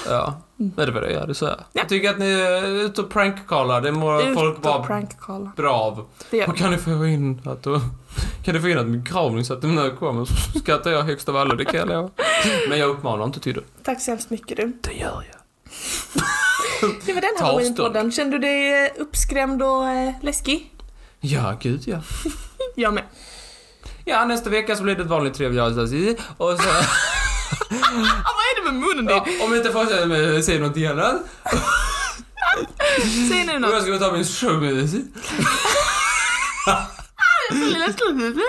Speaker 1: Ja, men det var det jag hade att säga. Jag tycker att ni är ute och prankcallar. Det mår folk
Speaker 2: Ut och
Speaker 1: vara
Speaker 2: prankcalla.
Speaker 1: bra av.
Speaker 2: Det gör
Speaker 1: Och kan du få in att du, Kan du få in att min begravning så att när jag kommer så skrattar jag högst av alla, det kan jag lova. Men jag uppmanar inte till det.
Speaker 2: Tack så hemskt mycket du.
Speaker 1: Det gör jag.
Speaker 2: Det var den
Speaker 1: Ta
Speaker 2: halloweenpodden. Kände du dig eh, uppskrämd och eh, läskig?
Speaker 1: Ja, gud ja.
Speaker 2: Jag med.
Speaker 1: Ja, nästa vecka så blir det ett vanligt trevligt avsnitt. Och så...
Speaker 2: Ah, vad är det med munnen
Speaker 1: Ja,
Speaker 2: din?
Speaker 1: om jag inte fortsätter med att säga något annat.
Speaker 2: Säg nu
Speaker 1: Och
Speaker 2: något.
Speaker 1: jag ska ta min showmedicin.
Speaker 2: Lilla slutet.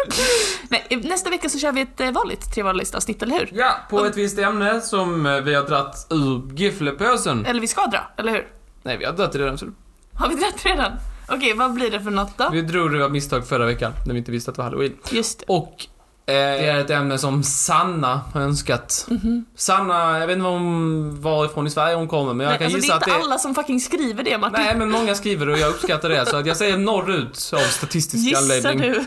Speaker 2: Nej, nästa vecka så kör vi ett eh, vanligt trevarulistavsnitt, eller hur?
Speaker 1: Ja, på ett visst ämne som eh, vi har dratt ur Giflepåsen.
Speaker 2: Eller vi ska dra, eller hur?
Speaker 1: Nej, vi har dratt det redan. Så
Speaker 2: Har vi dratt redan? Okej, vad blir det för något då?
Speaker 1: vi drog det av misstag förra veckan när vi inte visste att det var halloween.
Speaker 2: Just det.
Speaker 1: Och eh, det är ett ämne som Sanna har önskat.
Speaker 2: Mhm.
Speaker 1: Sanna, jag vet inte var hon, varifrån i Sverige hon kommer, men jag
Speaker 2: Nej,
Speaker 1: kan
Speaker 2: alltså, det
Speaker 1: gissa
Speaker 2: är
Speaker 1: att
Speaker 2: inte
Speaker 1: det är...
Speaker 2: alla som fucking skriver det Martin.
Speaker 1: Nej, men många skriver det och jag uppskattar det. Så att jag säger norrut av statistisk
Speaker 2: Gissar
Speaker 1: anledning.
Speaker 2: du?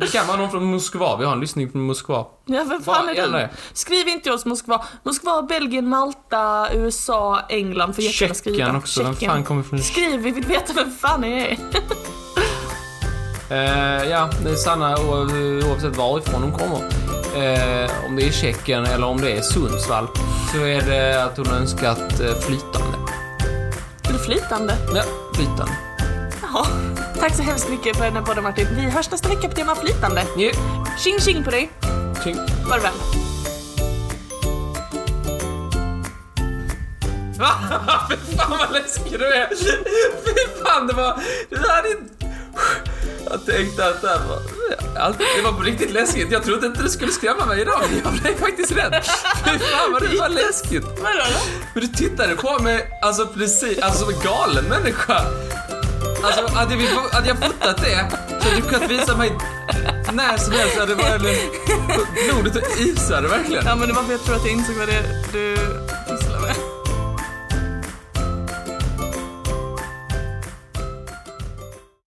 Speaker 1: Det kan vara någon från Moskva. Vi har en lyssning från Moskva.
Speaker 2: Ja, vem
Speaker 1: Vad
Speaker 2: fan är
Speaker 1: gäller
Speaker 2: du?
Speaker 1: det?
Speaker 2: Skriv inte oss Moskva. Moskva, Belgien, Malta, USA, England får jättegärna skriva.
Speaker 1: Tjeckien också. Vem fan kommer från...
Speaker 2: Skriv, vi vill veta vem fan är det
Speaker 1: Eh, ja, det är Sanna o- oavsett varifrån hon kommer. Eh, om det är Tjeckien eller om det är Sundsvall så är det att hon önskat eh, flytande.
Speaker 2: är. det flytande.
Speaker 1: Ja, flytande.
Speaker 2: Jaha. Tack så hemskt mycket för den här podden Martin. Vi hörs nästa vecka på tema flytande.
Speaker 1: Yeah.
Speaker 2: Tjing tjing på dig.
Speaker 1: Tjing.
Speaker 2: Farväl.
Speaker 1: Fy fan vad läskig du är! Fy fan det var... Det hade inte... Jag tänkte att det här var... Allt, det var på riktigt läskigt. Jag trodde inte det skulle skrämma mig idag men jag blev faktiskt rädd. Fy fan vad det var läskigt.
Speaker 2: Vadå då?
Speaker 1: Men du tittade på mig alltså precis, alltså som en galen människa. Alltså hade, vi, hade jag fotat det så hade du kunnat visa mig när som helst hade det varit blodet och isade verkligen.
Speaker 2: Ja men det var för att jag tror att jag insåg vad det du